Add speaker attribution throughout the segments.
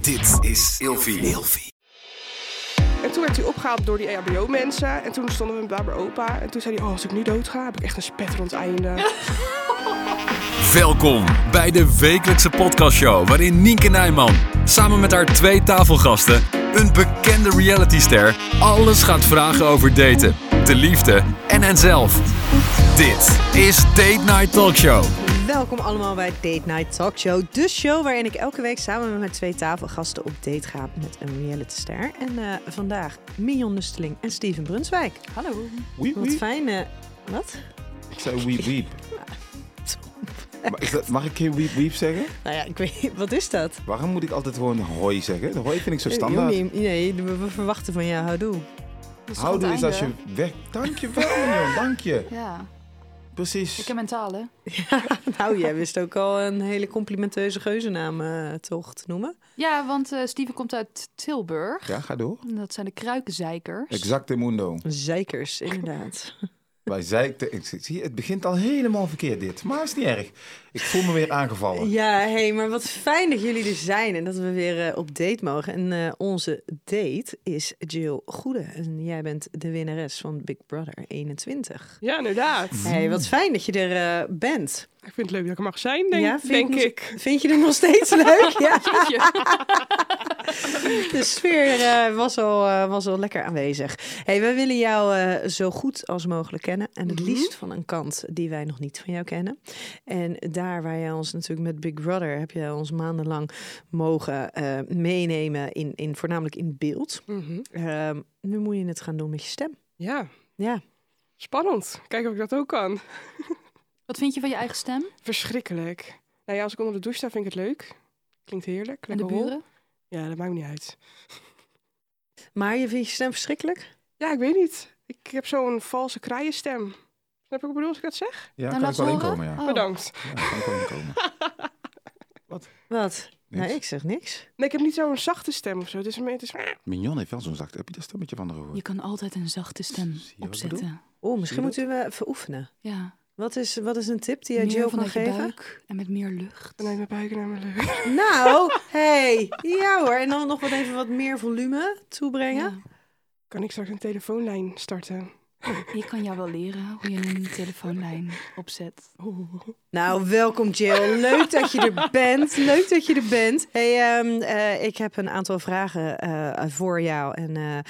Speaker 1: Dit is Ilfie. Ilfie.
Speaker 2: En toen werd hij opgehaald door die E EHBO-mensen. En toen stonden we met Barbara Opa. En toen zei hij, oh, als ik nu dood ga, heb ik echt een spetterend einde.
Speaker 1: Welkom bij de wekelijkse podcastshow waarin Nienke Nijman samen met haar twee tafelgasten, een bekende realityster, alles gaat vragen over daten, de liefde en henzelf. Dit is Date Night Talkshow.
Speaker 3: Welkom allemaal bij Date Night Talk Show. De show waarin ik elke week samen met mijn twee tafelgasten op date ga met een realityster. En eh, vandaag Mignon Nusteling en Steven Brunswijk. Hallo.
Speaker 4: Wiep,
Speaker 3: Wat
Speaker 4: wiep.
Speaker 3: fijn. eh, wat?
Speaker 4: Ik zei wiep, wiep. Maar is dat- Mag ik geen wiep, wiep zeggen?
Speaker 3: Nou ja, ik weet niet, Wat is dat?
Speaker 4: Waarom moet ik altijd gewoon hoi zeggen? De hoi vind
Speaker 3: Eh,
Speaker 4: ik zo standaard.
Speaker 3: Jonnie, nee, we we verwachten van jou houdoe.
Speaker 4: Houdoe is
Speaker 5: einde.
Speaker 4: als je weg... Dank je wel, jongen. Dank je.
Speaker 5: Ja,
Speaker 4: Precies.
Speaker 5: ik heb mentaal hè.
Speaker 3: Nou, jij wist ook al een hele complimenteuze geuzennaam eh, toch te noemen.
Speaker 5: Ja, want eh Steven komt uit Tilburg.
Speaker 4: Ja, ga door.
Speaker 5: En Dat zijn de kruikenzeikers.
Speaker 4: Exacte mundo.
Speaker 3: Zeikers, inderdaad.
Speaker 4: Wij zeikten... Ik zie, het begint al helemaal verkeerd dit. Maar is niet erg. Ik voel me weer aangevallen.
Speaker 3: Ja, hé, hey, maar wat fijn dat jullie er zijn en dat we weer eh, op date mogen. En eh, onze date is Jill Goede. En jij bent de winnares van Big Brother 21.
Speaker 2: Ja, inderdaad.
Speaker 3: Hé, hey, wat fijn dat je er eh, bent.
Speaker 2: Ik vind het leuk dat ik er mag zijn, denk,
Speaker 3: ja, vind je
Speaker 2: denk
Speaker 3: het nog-
Speaker 2: ik.
Speaker 3: Vind je het nog steeds leuk? Ja, de sfeer eh, was, al, eh, was al lekker aanwezig. hey, wij willen jou eh, zo goed als mogelijk kennen. En
Speaker 2: Mhm.
Speaker 3: het liefst van een kant die wij nog niet van jou kennen. En daar waar jij ons natuurlijk met Big Brother... heb je ons maandenlang mogen eh, meenemen, in, in, voornamelijk in beeld.
Speaker 2: Mhm.
Speaker 3: Ehm, nu moet je het gaan doen met je stem.
Speaker 2: Ja,
Speaker 3: Ja,
Speaker 2: spannend. Kijken of ik dat ook kan.
Speaker 5: Wat vind je van je eigen stem
Speaker 2: Verschrikkelijk. Nou ja, als ik onder de douche sta, vind ik het leuk. Klinkt heerlijk.
Speaker 5: en de
Speaker 2: lekker hol.
Speaker 5: buren? Nou,
Speaker 2: Ja, dat maakt me niet uit.
Speaker 3: maar je vindt je stem verschrikkelijk?
Speaker 2: Ja, ik weet niet. Ik heb zo'n valse kraaienstem. Snap je wat ik bedoel als ik dat zeg?
Speaker 4: Ja,
Speaker 5: Nou,
Speaker 4: kan
Speaker 5: laat
Speaker 4: ik wel
Speaker 5: horen.
Speaker 4: inkomen, ja.
Speaker 5: Oh.
Speaker 2: Bedankt.
Speaker 4: Ja, kan ik wel inkomen.
Speaker 3: Wat?
Speaker 4: Niks.
Speaker 3: Nou, ik zeg niks.
Speaker 2: Nee, ik heb niet zo'n zachte stem of zo. Het is meer... Het is...
Speaker 4: Mignon heeft wel zo'n zacht... Heb je dat stemmetje van haar gehoord?
Speaker 5: Je kan altijd een zachte stem
Speaker 4: Zie je wat ik
Speaker 5: opzetten.
Speaker 3: Oh, misschien
Speaker 4: Zie je
Speaker 3: moeten we even oefenen.
Speaker 5: Ja,
Speaker 3: Wat is, wat is een tip die jij
Speaker 5: meer
Speaker 3: Jill kan
Speaker 5: vanuit je
Speaker 3: geven?
Speaker 5: buik en met meer lucht.
Speaker 2: Dan neemt mijn buik naar mijn leuk.
Speaker 3: Nou, hey, ja hoor. En dan nog wat even wat meer volume toebrengen.
Speaker 5: Ja.
Speaker 2: Kan ik straks een telefoonlijn starten?
Speaker 5: Ik kan jou wel leren hoe je een telefoonlijn opzet.
Speaker 2: Oeh.
Speaker 3: Nou, welkom Jill. Leuk dat je er bent. Leuk dat je er bent. Hey, ehm, eh, ik heb een aantal vragen eh, voor jou. En eh eh,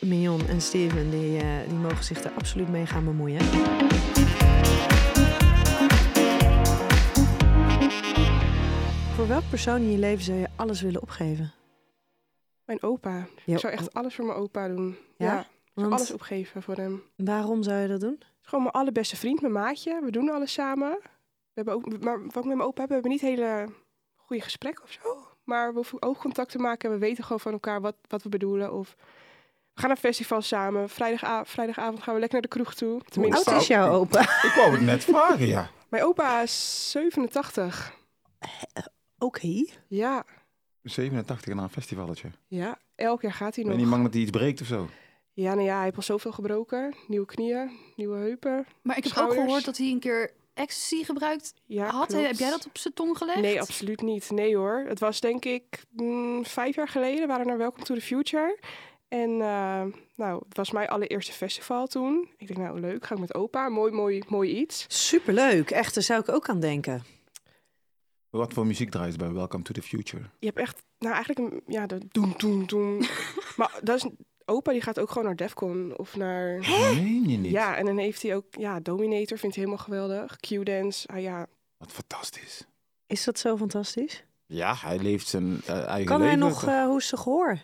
Speaker 3: Mignon en Steven, die, eh, die mogen zich er absoluut mee gaan bemoeien. Voor welk persoon in je leven zou je alles willen opgeven?
Speaker 2: Mijn opa.
Speaker 3: Ja,
Speaker 2: Ik zou echt alles voor mijn opa doen.
Speaker 3: Ja?
Speaker 2: Ja? Ik zou
Speaker 3: want
Speaker 2: alles opgeven voor hem. Het
Speaker 3: waarom zou je dat doen?
Speaker 2: is gewoon mijn allerbeste vriend, mijn maatje. We doen alles samen. We hebben ook, maar wat ik met mijn opa heb, we hebben niet hele goede gesprekken of zo. Maar we hoeven oogcontact te maken. en We weten gewoon van elkaar wat, wat we bedoelen. Of we gaan naar festivals samen. Vrijdaga- vrijdagavond gaan we lekker naar de kroeg toe.
Speaker 3: Hoe
Speaker 2: Tenminste,
Speaker 3: oud is jouw opa?
Speaker 4: Ik wou het net vragen, ja.
Speaker 2: mijn opa is 87.
Speaker 3: Oké.
Speaker 2: Ja,
Speaker 4: 87 na een festivalletje.
Speaker 2: ja. Elk jaar gaat hij nog.
Speaker 4: Ben je niet bang dat hij iets breekt of zo?
Speaker 2: Ja, nou ja, hij heeft al zoveel gebroken. Nieuwe knieën, nieuwe heupen.
Speaker 5: Maar ik heb ook
Speaker 2: Schouders.
Speaker 5: gehoord dat hij een keer ecstasy gebruikt
Speaker 2: Ja,
Speaker 5: had.
Speaker 2: klopt.
Speaker 5: Heb jij dat op zijn tong gelegd?
Speaker 2: Nee, absoluut niet. Nee hoor. Het was denk ik mm, vijf jaar geleden. We waren naar Welcome to the Future. En eh, nou, het was mijn allereerste festival toen. Ik denk, nou leuk, ga ik met opa. Mooi, mooi, mooi iets.
Speaker 3: Superleuk. Echt, daar zou ik ook aan denken.
Speaker 4: Wat voor muziek draait bij Welcome to the Future?
Speaker 2: Je hebt echt, nou eigenlijk, een, ja, de doen, doen, doen. maar dat is, opa die gaat ook gewoon naar Defcon of naar...
Speaker 4: Meen je niet?
Speaker 2: Ja, en dan heeft hij ook, ja, Dominator vindt hij helemaal geweldig. Q-dance, ah ja.
Speaker 4: Wat fantastisch.
Speaker 3: Is dat zo fantastisch?
Speaker 4: Ja, hij leeft zijn eh, eigen
Speaker 3: Kan hij
Speaker 4: leven.
Speaker 3: nog eh hoesten gehoor?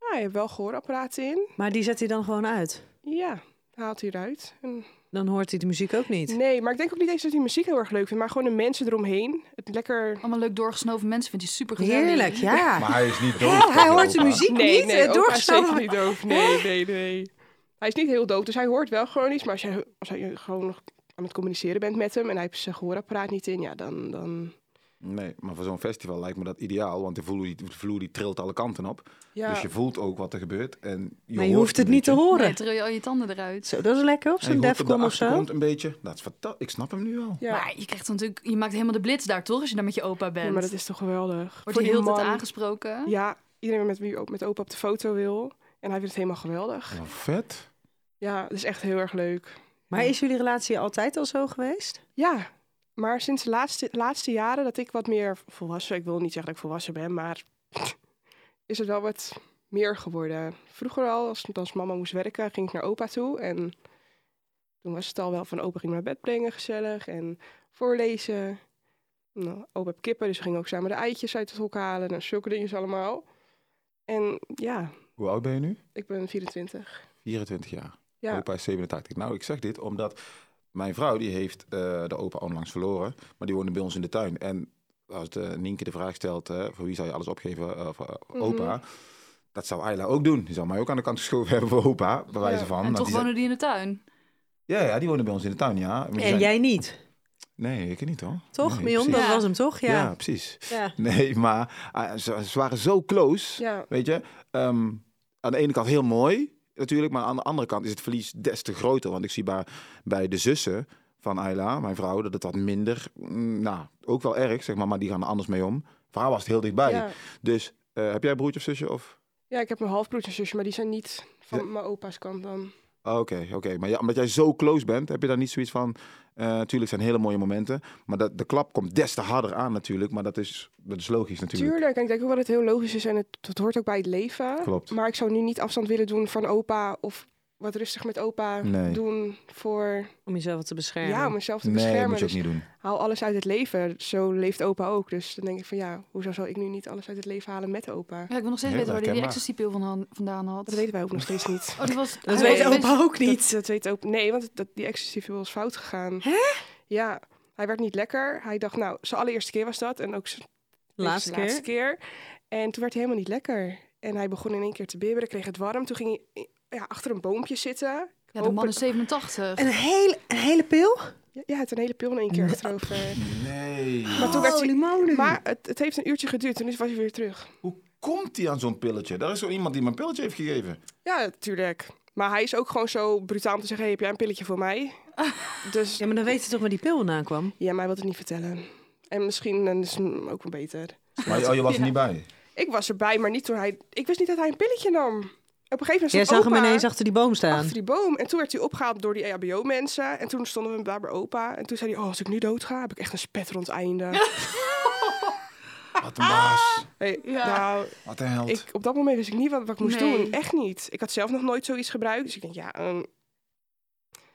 Speaker 2: Nou, hij heeft wel gehoorapparaten in.
Speaker 3: Maar die zet hij dan gewoon uit.
Speaker 2: Ja, haalt hij eruit. En
Speaker 3: Dan hoort hij de muziek ook niet.
Speaker 2: Nee, maar ik denk ook niet eens dat hij muziek heel erg leuk vindt, maar gewoon de mensen eromheen. Het lekker.
Speaker 5: Allemaal leuk doorgesnoven mensen vind je super gezellig.
Speaker 3: Heerlijk, ja.
Speaker 4: Maar hij is niet dood.
Speaker 3: Hè, hij hoort de
Speaker 4: opa.
Speaker 3: muziek niet. eh,
Speaker 2: opa is
Speaker 3: doorgesnoven.
Speaker 2: zeker niet doof. Nee, nee, nee. Hij is niet heel doof, dus hij hoort wel gewoon iets. Maar als je, als hij gewoon nog aan het communiceren bent met hem en hij heeft zijn gehoorapparaat niet in, ja, dan, dan
Speaker 4: Nee, maar voor zo'n festival lijkt me dat ideaal, want de vloer die, de vloer die trilt alle kanten op.
Speaker 2: Ja.
Speaker 4: Dus je voelt ook wat er gebeurt. En je
Speaker 3: maar je
Speaker 4: hoort
Speaker 3: hoeft het
Speaker 4: een
Speaker 3: niet te
Speaker 4: beetje.
Speaker 3: horen.
Speaker 5: Nee, tril je al je tanden eruit.
Speaker 3: Zo, dat is lekker op
Speaker 4: En
Speaker 3: zo'n
Speaker 4: je hoort op de
Speaker 3: Defcon of zo.
Speaker 4: achtergrond een beetje. Dat is fanta- Ik snap hem nu al.
Speaker 2: ja.
Speaker 5: Maar je krijgt dan natuurlijk, je maakt helemaal de blitz daar toch, als je daar met je opa bent.
Speaker 2: Ja, maar dat is toch geweldig.
Speaker 5: Wordt
Speaker 2: Voor
Speaker 5: je
Speaker 2: die
Speaker 5: heel de tijd
Speaker 2: man.
Speaker 5: aangesproken.
Speaker 2: Ja, iedereen met wie ook met opa op de foto wil. En hij vindt het helemaal geweldig.
Speaker 4: Oh, vet.
Speaker 2: Ja, het is echt heel erg leuk.
Speaker 3: Maar is jullie relatie altijd al zo geweest?
Speaker 2: Ja, maar sinds de laatste, laatste jaren dat ik wat meer volwassen... Ik wil niet zeggen dat ik volwassen ben, maar... is het wel wat meer geworden. Vroeger al, als, als mama moest werken, ging ik naar opa toe. En toen was het al wel van opa ging me naar bed brengen, gezellig. En voorlezen. Nou, opa heb kippen, dus we gingen ook samen de eitjes uit het hok halen. En zulke dingen allemaal. En ja,
Speaker 4: Hoe oud ben je nu?
Speaker 2: ik ben 24.
Speaker 4: 24 jaar.
Speaker 2: Ja.
Speaker 4: Opa is 87. Nou, ik zeg dit omdat mijn vrouw die heeft eh, de opa onlangs verloren, maar die woonde bij ons in de tuin. En als de Nienke de vraag stelt, eh, voor wie zou je alles opgeven eh, voor eh, opa?
Speaker 3: Mhm.
Speaker 4: Dat zou Ayla ook doen. Die zou mij ook aan de kant geschoven hebben voor opa, bij wijze
Speaker 2: Ja.
Speaker 4: van.
Speaker 5: En
Speaker 4: Want
Speaker 5: toch
Speaker 4: nou, die zei-
Speaker 5: wonen die in de tuin.
Speaker 4: ja, ja, die woonde bij ons in de tuin, ja. Maar die
Speaker 3: En
Speaker 4: zei-
Speaker 3: jij niet,
Speaker 4: Nee, ik niet hoor.
Speaker 3: toch?
Speaker 4: Nee,
Speaker 3: Mion,
Speaker 4: precies.
Speaker 3: dat
Speaker 5: Ja.
Speaker 3: was hem toch? Ja.
Speaker 4: Ja.
Speaker 3: ja.
Speaker 4: precies. Nee, maar ah, ze, ze waren zo close.
Speaker 2: Ja,
Speaker 4: Weet je, ehm, aan de ene kant heel mooi natuurlijk, maar aan de andere kant is het verlies des te groter. Want ik zie bij, bij de zussen van Ayla, mijn vrouw, dat het wat minder, mm, nou, ook wel erg, zeg maar, maar die gaan er anders mee om. Voor haar was het heel dichtbij.
Speaker 2: ja.
Speaker 4: Dus eh, heb jij een broertje of zusje? Of?
Speaker 2: Ja, ik heb een halfbroertje en zusje, maar die zijn niet van
Speaker 4: Ja.
Speaker 2: mijn opa's kant dan.
Speaker 4: Oh, Oké, oké. Maar ja, omdat jij zo close bent, heb je daar niet zoiets van. Natuurlijk zijn hele mooie momenten, maar dat, de klap komt des te harder aan natuurlijk. Maar dat is, dat is logisch natuurlijk.
Speaker 2: Tuurlijk, en ik denk ook dat het heel logisch is en het, het hoort ook bij het leven.
Speaker 4: Klopt.
Speaker 2: Maar ik zou nu niet afstand willen doen van opa of wat rustig met opa
Speaker 4: Nee.
Speaker 2: doen voor
Speaker 3: Om jezelf wat te beschermen.
Speaker 2: ja, om mezelf te
Speaker 4: Nee, dat
Speaker 2: beschermen.
Speaker 4: moet je ook
Speaker 2: Dus
Speaker 4: niet doen.
Speaker 2: haal alles uit het leven. Zo leeft opa ook. Dus dan denk ik van ja, hoezo zou ik nu niet alles uit het leven halen met opa?
Speaker 5: Ja, ik wil nog steeds
Speaker 4: Heel
Speaker 5: weten waar hij die
Speaker 4: herkenbaar.
Speaker 5: ecstasypil van vandaan had.
Speaker 2: Dat weten wij ook nog steeds niet.
Speaker 5: Oh, dat was...
Speaker 3: Dat
Speaker 5: Oh,
Speaker 3: weet
Speaker 5: dat
Speaker 3: opa ook niet.
Speaker 2: Dat, dat weet ook. Nee, want dat, die excessieve is fout gegaan. Hè? Ja, hij werd niet lekker. Hij dacht, nou, zijn allereerste keer was dat. En ook zijn
Speaker 3: Laatste
Speaker 2: zijn
Speaker 3: keer.
Speaker 2: keer. En toen werd hij helemaal niet lekker. En hij begon in één keer te bibberen, kreeg het warm. Toen ging hij ja, achter een boompje zitten.
Speaker 5: Ja, de man is
Speaker 2: Hopelijk-
Speaker 5: 87.
Speaker 3: Een hele, een hele pil?
Speaker 2: Ja, hij had een hele pil in één keer achterover.
Speaker 4: Nee.
Speaker 2: Maar toen werd
Speaker 3: Holy
Speaker 2: hij...
Speaker 3: moly.
Speaker 2: Maar het, het heeft een uurtje geduurd, toen is- was hij weer terug.
Speaker 4: Hoe komt hij aan zo'n pilletje? Daar is zo iemand die me een pilletje heeft gegeven.
Speaker 2: Ja, natuurlijk. Maar hij is ook gewoon zo brutaal om te zeggen, hey, heb jij een pilletje voor mij? Dus
Speaker 3: Ja, maar dan weet je toch waar die pil vandaan kwam?
Speaker 2: ja, maar hij wil het niet vertellen. En misschien dan is het ook wel beter.
Speaker 4: Maar je, oh, je was er niet bij.
Speaker 2: Ik was erbij, maar niet toen hij. Ik wist niet dat hij een pilletje nam. Op een gegeven moment
Speaker 3: Jij
Speaker 2: stond
Speaker 3: zag hem
Speaker 2: opa
Speaker 3: ineens achter die boom staan.
Speaker 2: achter die boom. En toen werd hij opgehaald door die E EHBO-mensen. En toen stonden we daar bij opa. En toen zei hij, oh, als ik nu dood ga, heb ik echt een spetterend einde.
Speaker 4: Wat een baas.
Speaker 2: Hey,
Speaker 5: Ja.
Speaker 2: Nou,
Speaker 4: Wat een held.
Speaker 2: ik, op dat moment wist ik niet wat, wat ik moest
Speaker 5: Nee.
Speaker 2: doen. Echt niet. Ik had zelf nog nooit zoiets gebruikt. Dus ik denk, ja, ehm,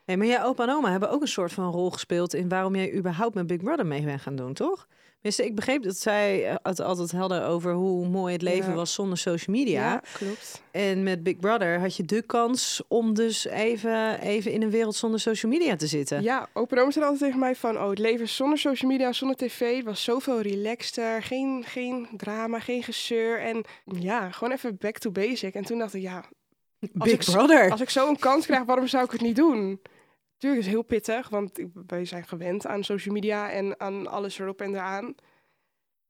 Speaker 3: Hey, maar jij opa en oma hebben ook een soort van rol gespeeld in waarom jij überhaupt met Big Brother mee bent gaan doen, toch? Tenminste, ik begreep dat zij eh, het altijd hadden over hoe mooi het leven
Speaker 2: Ja.
Speaker 3: was zonder social media.
Speaker 2: klopt.
Speaker 3: En met Big Brother had je de kans om dus even, even in een wereld zonder social media te zitten.
Speaker 2: Ja, opa en oma zeiden altijd tegen mij van, oh, het leven zonder social media, zonder tv, het was zoveel relaxter. Geen, geen drama, geen gezeur. En ja, gewoon even back to basic. En toen dacht ik, ja, als
Speaker 3: Big
Speaker 2: ik-
Speaker 3: Brother.
Speaker 2: als ik zo een kans krijg, waarom zou ik het niet doen? Tuurlijk is het heel pittig, want ik- wij zijn gewend aan social media en aan alles erop en eraan.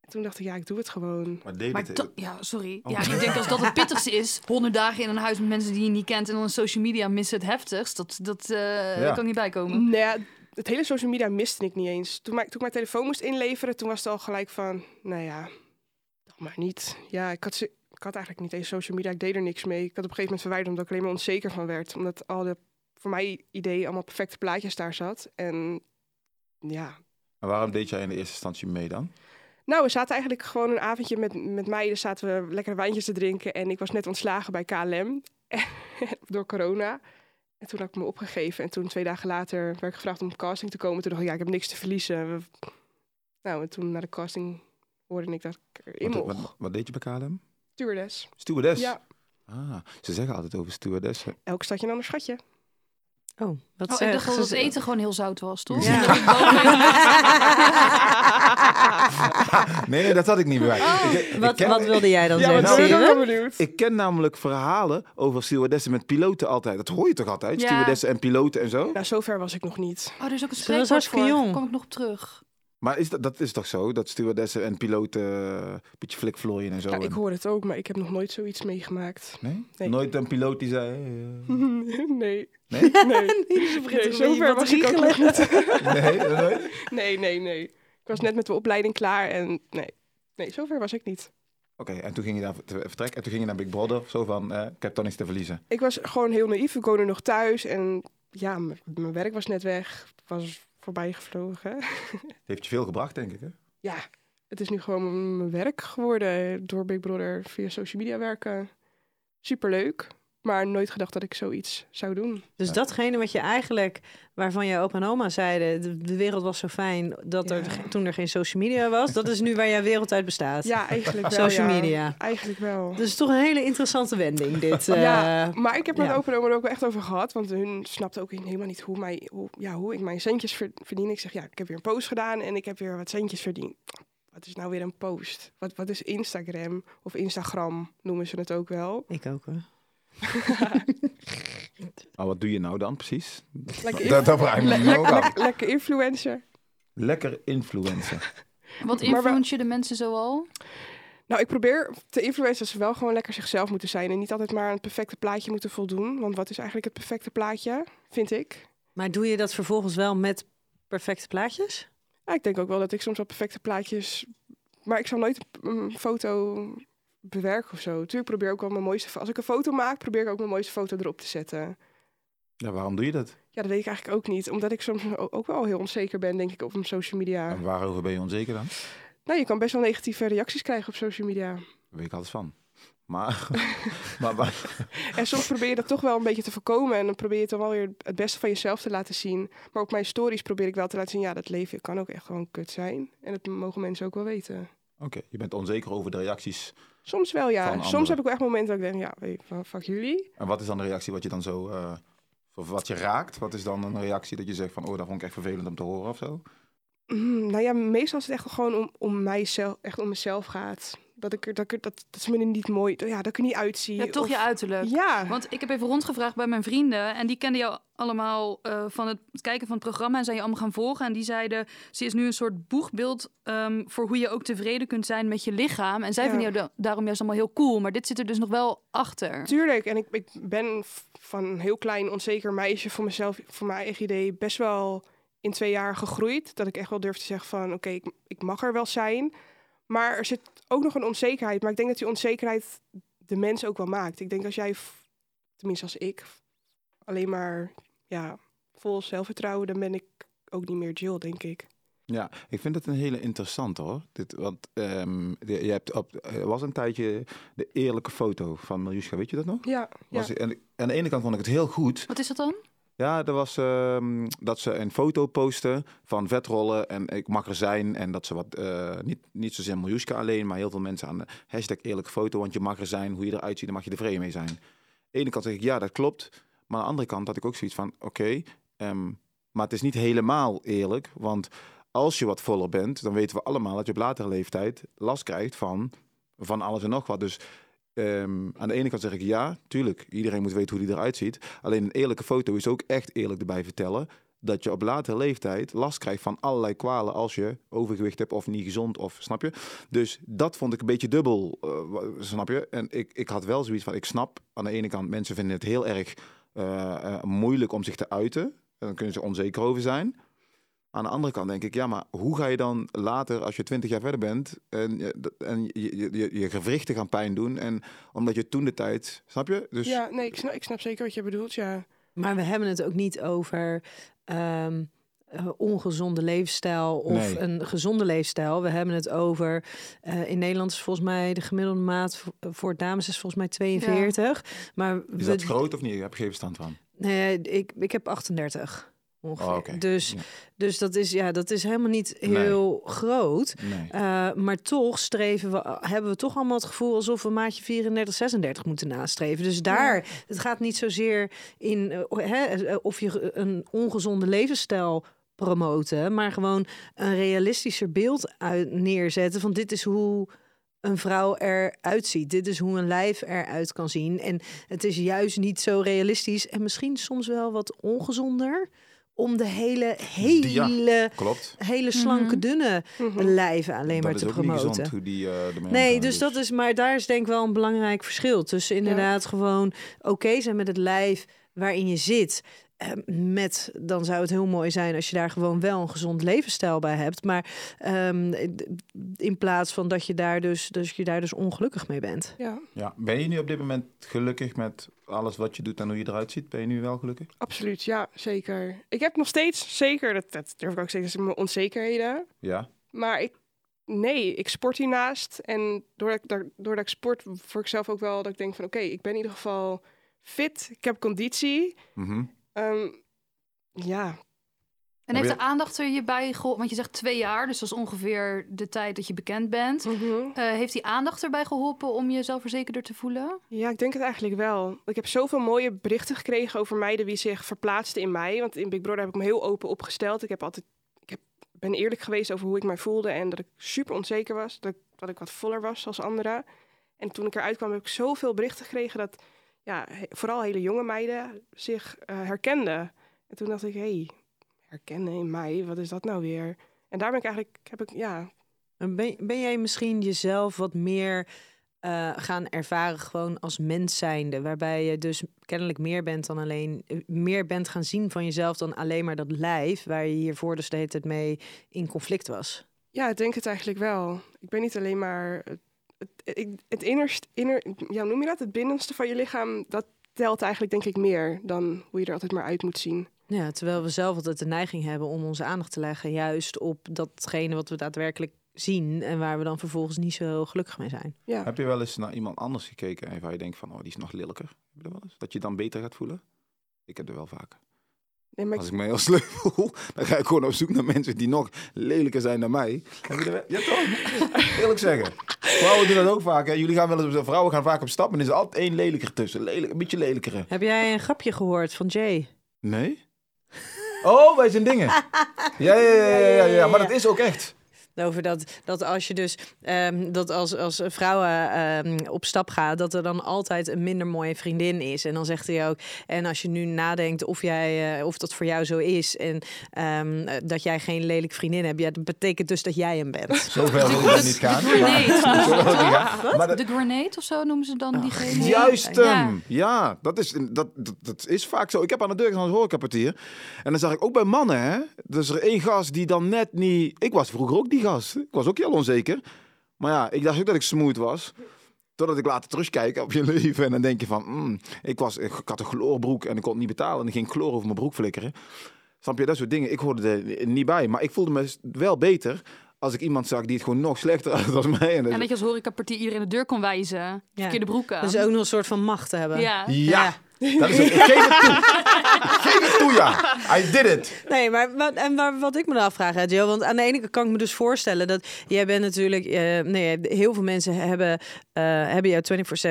Speaker 2: En toen dacht ik, ja, ik doe het gewoon.
Speaker 4: Maar deed
Speaker 5: Maar
Speaker 4: het-
Speaker 5: dat- ja, sorry.
Speaker 4: Oh.
Speaker 5: Ja, ik denk als dat het pittigste is, honderd dagen in een huis met mensen die je niet kent en dan op social media missen het heftigst, dat, dat eh,
Speaker 4: Ja.
Speaker 5: kan ik niet bijkomen.
Speaker 2: Nou ja, het hele social media miste ik niet eens. Toen, mijn- toen ik mijn telefoon moest inleveren, toen was het al gelijk van, nou ja, dat maar niet. Ja, ik had, ze- ik had eigenlijk niet eens social media, ik deed er niks mee. Ik had op een gegeven moment verwijderd omdat ik er alleen maar onzeker van werd. Omdat al de, voor mijn idee, allemaal perfecte plaatjes daar zat. En ja,
Speaker 4: En waarom deed jij in de eerste instantie mee dan?
Speaker 2: Nou, we zaten eigenlijk gewoon een avondje met, met meiden, zaten we lekker wijntjes te drinken. En ik was net ontslagen bij KLM door corona. En toen had ik me opgegeven. En toen twee dagen later werd ik gevraagd om op casting te komen. Toen dacht ik, ja, ik heb niks te verliezen. We- Nou, en toen naar de casting hoorde ik dat ik erin
Speaker 4: Wat,
Speaker 2: mocht.
Speaker 4: wat, wat deed je bij KLM?
Speaker 2: Stewardess.
Speaker 4: Stewardess.
Speaker 2: Ja,
Speaker 4: Ah, ze zeggen altijd over stewardessen.
Speaker 2: elk stadje een ander schatje.
Speaker 3: Oh, wat
Speaker 5: Oh,
Speaker 3: zei-
Speaker 5: ik dacht dat
Speaker 3: ze-
Speaker 5: het eten gewoon heel zout was, toch?
Speaker 3: Ja.
Speaker 5: Dat ik boven-
Speaker 4: Nee, nee, dat had ik niet bij.
Speaker 2: Ah,
Speaker 4: Ik- ik
Speaker 3: Wat,
Speaker 4: ken-
Speaker 3: wat wilde jij dan
Speaker 4: nou, Ja, maar
Speaker 3: zeggen?
Speaker 2: Nou, ben
Speaker 4: dat-
Speaker 2: ik ook
Speaker 3: Sire?
Speaker 2: wel benieuwd.
Speaker 4: Ik ken namelijk verhalen over stewardessen met piloten altijd. Dat hoor je toch altijd?
Speaker 5: Ja.
Speaker 4: Stewardessen en piloten en zo?
Speaker 2: Nou, zover was ik nog niet.
Speaker 5: Oh, er is ook
Speaker 3: Ze
Speaker 5: een
Speaker 3: was
Speaker 5: spreekwoord
Speaker 3: hartstikke
Speaker 5: voor.
Speaker 3: jong.
Speaker 5: Daar kom ik nog op terug.
Speaker 4: Maar is dat, dat is toch zo? Dat stewardessen en piloten eh, een beetje flikvlooien en zo.
Speaker 2: Ja, Nou, ik
Speaker 4: en-
Speaker 2: hoor het ook, maar ik heb nog nooit zoiets meegemaakt.
Speaker 4: Nee?
Speaker 2: Nee.
Speaker 4: Nooit een piloot die zei... eh,
Speaker 2: nee.
Speaker 4: Nee?
Speaker 2: Nee,
Speaker 3: Ze begint
Speaker 2: nee
Speaker 3: een beetje
Speaker 2: zover
Speaker 3: wat
Speaker 2: was
Speaker 3: te
Speaker 2: ik ook nog
Speaker 3: riegelen.
Speaker 2: niet.
Speaker 4: nee, nooit?
Speaker 2: Nee, nee, nee. Ik was net met de opleiding klaar en nee. Nee, zover was ik niet.
Speaker 4: Oké, en toen ging je daar ver- vertrek en toen ging je naar Big Brother. Zo van, eh, ik heb toch niks te verliezen.
Speaker 2: Ik was gewoon heel naïef. Ik woonde nog thuis en ja, m- mijn werk was net weg. Het was voorbij gevlogen.
Speaker 4: Het heeft je veel gebracht, denk ik. Hè?
Speaker 2: Ja, het is nu gewoon mijn werk geworden door Big Brother via social media werken. Superleuk, maar nooit gedacht dat ik zoiets zou doen.
Speaker 3: Dus datgene wat je eigenlijk, waarvan je opa en oma zeiden, de, de wereld was zo fijn dat er
Speaker 2: Ja.
Speaker 3: ge- toen er geen social media was, dat is nu waar jouw wereld uit bestaat.
Speaker 2: Ja, eigenlijk wel.
Speaker 3: social
Speaker 2: ja.
Speaker 3: media.
Speaker 2: Eigenlijk wel.
Speaker 3: Dus toch een hele interessante wending dit. eh.
Speaker 2: Ja, maar ik heb mijn
Speaker 3: ja.
Speaker 2: opa en oma er ook wel echt over gehad. Want hun snapte ook helemaal niet hoe, mij, hoe, ja, hoe ik mijn centjes ver- verdien. Ik zeg, ja, ik heb weer een post gedaan en ik heb weer wat centjes verdiend. Wat is nou weer een post? Wat, wat is Instagram? Of Instagram noemen ze het ook wel.
Speaker 3: Ik ook hoor.
Speaker 4: Maar wat doe je nou dan precies?
Speaker 2: Lekker,
Speaker 4: Dat, dat vraag ik me nu ook af.
Speaker 2: inf- lekker influencer.
Speaker 4: Lekker influencer.
Speaker 5: Wat
Speaker 2: Maar we-
Speaker 5: influence je de mensen zoal?
Speaker 2: Nou, ik probeer te influencers dat ze wel gewoon lekker zichzelf moeten zijn. En niet altijd maar aan het perfecte plaatje moeten voldoen. Want wat is eigenlijk het perfecte plaatje, vind ik?
Speaker 3: Maar doe je dat vervolgens wel met perfecte plaatjes?
Speaker 2: Ja, ik denk ook wel dat ik soms wel perfecte plaatjes. Maar ik zal nooit een foto bewerken of zo. Tuurlijk probeer ik ook wel mijn mooiste. fo- Als ik een foto maak, probeer ik ook mijn mooiste foto erop te zetten.
Speaker 4: Ja, waarom doe je dat?
Speaker 2: Ja, dat weet ik eigenlijk ook niet. Omdat ik soms o- ook wel heel onzeker ben, denk ik, op mijn social media.
Speaker 4: En waarover ben je onzeker dan?
Speaker 2: Nou, je kan best wel negatieve reacties krijgen op social media.
Speaker 4: Daar weet ik alles van. Maar, maar, maar-
Speaker 2: En soms probeer je dat toch wel een beetje te voorkomen. En dan probeer je dan wel weer het beste van jezelf te laten zien. Maar op mijn stories probeer ik wel te laten zien... ja, dat leven kan ook echt gewoon kut zijn. En dat mogen mensen ook wel weten.
Speaker 4: oké, je bent onzeker over de reacties.
Speaker 2: Soms wel,
Speaker 4: Van
Speaker 2: ja.
Speaker 4: anderen.
Speaker 2: Soms heb ik wel echt momenten dat ik denk... ja, weet je, van, fuck jullie.
Speaker 4: En wat is dan de reactie wat je dan zo... eh, of wat je raakt? Wat is dan een reactie dat je zegt van... Oh, dat vond ik echt vervelend om te horen of zo?
Speaker 2: Mm, nou ja, meestal is het echt gewoon om, om mijzelf, echt om mezelf gaat. Dat ik er, dat, ik er- dat, dat ze me er niet mooi, ja, dat ik er niet uitzie.
Speaker 5: Ja, toch
Speaker 2: of-
Speaker 5: je uiterlijk.
Speaker 2: Ja,
Speaker 5: Want ik heb even rondgevraagd bij mijn vrienden. En die kenden jou allemaal eh, van het kijken van het programma. En zijn je allemaal gaan volgen. En die zeiden, ze is nu een soort boegbeeld ehm, voor hoe je ook tevreden kunt zijn met je lichaam. En zij
Speaker 2: Ja.
Speaker 5: vinden jou da- daarom juist allemaal heel cool. Maar dit zit er dus nog wel achter.
Speaker 2: tuurlijk. En ik, ik ben v- van een heel klein onzeker meisje voor mezelf, voor mijn eigen idee, best wel in twee jaar gegroeid. Dat ik echt wel durf te zeggen van, oké, ik, ik mag er wel zijn. Maar er zit ook nog een onzekerheid. Maar ik denk dat die onzekerheid de mens ook wel maakt. Ik denk als jij, f- tenminste als ik, f- alleen maar ja, vol zelfvertrouwen, dan ben ik ook niet meer Jill, denk ik.
Speaker 4: Ja, ik vind het een hele interessante hoor. Dit, want ehm, de- je hebt op, er was een tijdje de eerlijke foto van Miljuska, weet je dat nog?
Speaker 2: Ja,
Speaker 4: Was, en, aan de ene kant vond ik het heel goed.
Speaker 5: Wat is dat dan?
Speaker 4: Ja, er was ehm, dat ze een foto posten van vetrollen en ik mag er zijn. En dat ze wat, eh, niet, niet zozeer Miljuska alleen, maar heel veel mensen aan de hashtag eerlijke foto. Want je mag er zijn, hoe je eruit ziet, daar mag je tevreden mee zijn. Aan de ene kant zeg ik, ja, dat klopt. Maar aan de andere kant had ik ook zoiets van, oké, ehm, maar het is niet helemaal eerlijk. Want als je wat voller bent, dan weten we allemaal dat je op latere leeftijd last krijgt van, van alles en nog wat. Dus ehm, aan de ene kant zeg ik ja, tuurlijk, iedereen moet weten hoe die eruit ziet. Alleen een eerlijke foto is ook echt eerlijk erbij vertellen dat je op latere leeftijd last krijgt van allerlei kwalen als je overgewicht hebt of niet gezond of snap je. Dus dat vond ik een beetje dubbel, eh, wa- snap je. En ik, ik had wel zoiets van, ik snap aan de ene kant, mensen vinden het heel erg eh, eh, moeilijk om zich te uiten. En dan kunnen ze onzeker over zijn. Aan de andere kant denk ik, ja, maar hoe ga je dan later, als je twintig jaar verder bent, en, je- dat- en je, je, je, je gewrichten gaan pijn doen? En omdat je toen de tijd, snap je? Dus
Speaker 2: Ja, nee, ik snap, ik snap zeker wat je bedoelt, ja.
Speaker 3: Maar we hebben het ook niet over ehm, eh, ongezonde leefstijl of
Speaker 4: Nee.
Speaker 3: een gezonde leefstijl. We hebben het over, eh, in Nederland is volgens mij de gemiddelde maat voor, voor dames is volgens mij 42. Maar
Speaker 4: is
Speaker 3: we-
Speaker 4: dat groot of niet? Ik heb geen verstand van.
Speaker 3: nee, ik, ik heb 38 ongeveer.
Speaker 4: Oh, oké.
Speaker 3: Dus,
Speaker 4: Ja.
Speaker 3: dus dat, is, ja, dat is helemaal niet
Speaker 4: Nee.
Speaker 3: heel groot.
Speaker 4: Nee.
Speaker 3: Eh, maar toch streven we, eh, hebben we toch allemaal het gevoel alsof we maatje 34, 36 moeten nastreven. Dus daar, het gaat niet zozeer in eh, hè, eh, of je een ongezonde levensstijl promoten, maar gewoon een realistischer beeld uit, neerzetten van dit is hoe een vrouw eruit ziet. Dit is hoe een lijf eruit kan zien. En het is juist niet zo realistisch en misschien soms wel wat ongezonder om de hele, hele,
Speaker 4: Klopt.
Speaker 3: hele slanke,
Speaker 5: Mhm.
Speaker 3: dunne
Speaker 2: Mhm.
Speaker 3: lijven alleen
Speaker 4: Dat
Speaker 3: maar
Speaker 4: is
Speaker 3: te
Speaker 4: ook niet gezond
Speaker 3: promoten.
Speaker 4: hoe die eh, de mensen
Speaker 3: Nee,
Speaker 4: aan
Speaker 3: dus dat is, maar daar is denk ik wel een belangrijk verschil. Tussen inderdaad gewoon oké zijn met het lijf waarin je zit. Eh, Met, dan zou het heel mooi zijn als je daar gewoon wel een gezond levensstijl bij hebt. Maar ehm, in plaats van dat je daar dus, dus, je daar dus ongelukkig mee bent.
Speaker 2: Ja,
Speaker 4: Ja. Ben je nu op dit moment gelukkig met alles wat je doet en hoe je eruit ziet? Ben je nu wel gelukkig?
Speaker 2: absoluut. Ja, zeker. Ik heb nog steeds, zeker, dat, dat durf ik ook steeds, dat zijn mijn onzekerheden.
Speaker 4: Ja.
Speaker 2: Maar ik, nee, ik sport hiernaast. En doordat ik, daar- doordat ik sport, voor ikzelf ook wel dat ik denk van... Oké, ik ben in ieder geval fit. Ik heb conditie.
Speaker 4: Mhm.
Speaker 2: Ehm, ja,
Speaker 5: En
Speaker 4: Heb
Speaker 5: heeft
Speaker 4: je-
Speaker 5: de aandacht er je bij geholpen? Want je zegt twee jaar, dus dat is ongeveer de tijd dat je bekend bent. Eh, heeft die aandacht erbij geholpen om je zelfverzekerder te voelen?
Speaker 2: Ja, ik denk het eigenlijk wel. Ik heb zoveel mooie berichten gekregen over meiden die zich verplaatsten in mij. Want in Big Brother heb ik me heel open opgesteld. Ik, heb altijd, ik heb, ben eerlijk geweest over hoe ik mij voelde en dat ik super onzeker was. Dat ik, dat ik wat voller was als anderen. En toen ik eruit kwam heb ik zoveel berichten gekregen dat ja, he- vooral hele jonge meiden zich eh, herkenden. En toen dacht ik, hé, hey, herkennen in mij, wat is dat nou weer? En daar ben ik eigenlijk, heb ik, ja,
Speaker 3: En Ben, ben jij misschien jezelf wat meer eh, gaan ervaren gewoon als mens zijnde? Waarbij je dus kennelijk meer bent dan alleen... eh, meer bent gaan zien van jezelf dan alleen maar dat lijf... waar je hiervoor dus de hele tijd mee in conflict was.
Speaker 2: Ja, ik denk het eigenlijk wel. Ik ben niet alleen maar het, het, ik- het innerst, inner, ja, hoe noem je dat? Het binnenste van je lichaam, dat telt eigenlijk denk ik meer dan hoe je er altijd maar uit moet zien.
Speaker 3: Ja, terwijl we zelf altijd de neiging hebben om onze aandacht te leggen... juist op datgene wat we daadwerkelijk zien... en waar we dan vervolgens niet zo gelukkig mee zijn.
Speaker 2: Ja,
Speaker 4: Heb je wel eens naar iemand anders gekeken en waar je denkt van, oh, die is nog lelijker? Heb je dat wel eens? Dat je dan beter gaat voelen? Ik heb er wel vaker.
Speaker 2: nee, maar ik-
Speaker 4: Als ik me heel sleu voel, dan ga ik gewoon op zoek naar mensen die nog lelijker zijn dan mij. Heb je er wel- Ja toch? Eerlijk zeggen. Vrouwen doen dat ook vaak. Hè? Jullie gaan wel eens op, vrouwen gaan vaak op stap en er is altijd één lelijker tussen. Lelijk, een beetje lelijkere.
Speaker 3: Heb jij een grapje gehoord van Jay?
Speaker 4: Nee? Oh, wij zijn dingen. Ja, ja, ja, ja, ja, ja. Maar dat is ook echt.
Speaker 3: Over dat, dat als je dus ehm, dat als, als vrouwen ehm, op stap gaan, dat er dan altijd een minder mooie vriendin is. En dan zegt hij ook. En als je nu nadenkt of jij eh, of dat voor jou zo is. En ehm, eh, dat jij geen lelijk vriendin hebt. Ja, dat betekent dus dat jij hem bent.
Speaker 4: Zover wil
Speaker 5: De-
Speaker 4: ik niet gaan.
Speaker 5: De grenade.
Speaker 4: Zo wil ik niet gaan. Maar dat-
Speaker 5: De grenade of zo noemen ze dan diegene.
Speaker 4: Juist hem.
Speaker 5: Ja.
Speaker 4: Ja, dat, is, dat, dat, dat is vaak zo. Ik heb aan de deur gestaan als horecapartier. En dan zag ik ook bij mannen, hè. Dus er één gast die dan net niet... Ik was vroeger ook die gast. Ik was ook heel onzeker. Maar ja, ik dacht ook dat ik smooth was. Totdat ik later terugkijk op je leven. En dan denk je van... mm, ik, was, ik had een chloorbroek en ik kon het niet betalen. En er ging chloor over mijn broek flikkeren. Snap je? Dat soort dingen. Ik hoorde er niet bij. Maar ik voelde me wel beter als ik iemand zag die het gewoon nog slechter had dan mij. En dat-
Speaker 5: En dat je als horecapartier iedereen de deur kon wijzen. Verkeerde broeken.
Speaker 3: Dus Eh, ook nog een soort van macht te hebben.
Speaker 5: Ja.
Speaker 4: Ja, dat is het. Ik geef het toe. Ik geef het toe, ja. I did it.
Speaker 3: Nee, maar wat, en waar, wat ik me dan afvraag, hè, Jo, want aan de ene kant kan ik me dus voorstellen dat jij bent natuurlijk, eh, nee, heel veel mensen hebben, eh, hebben jou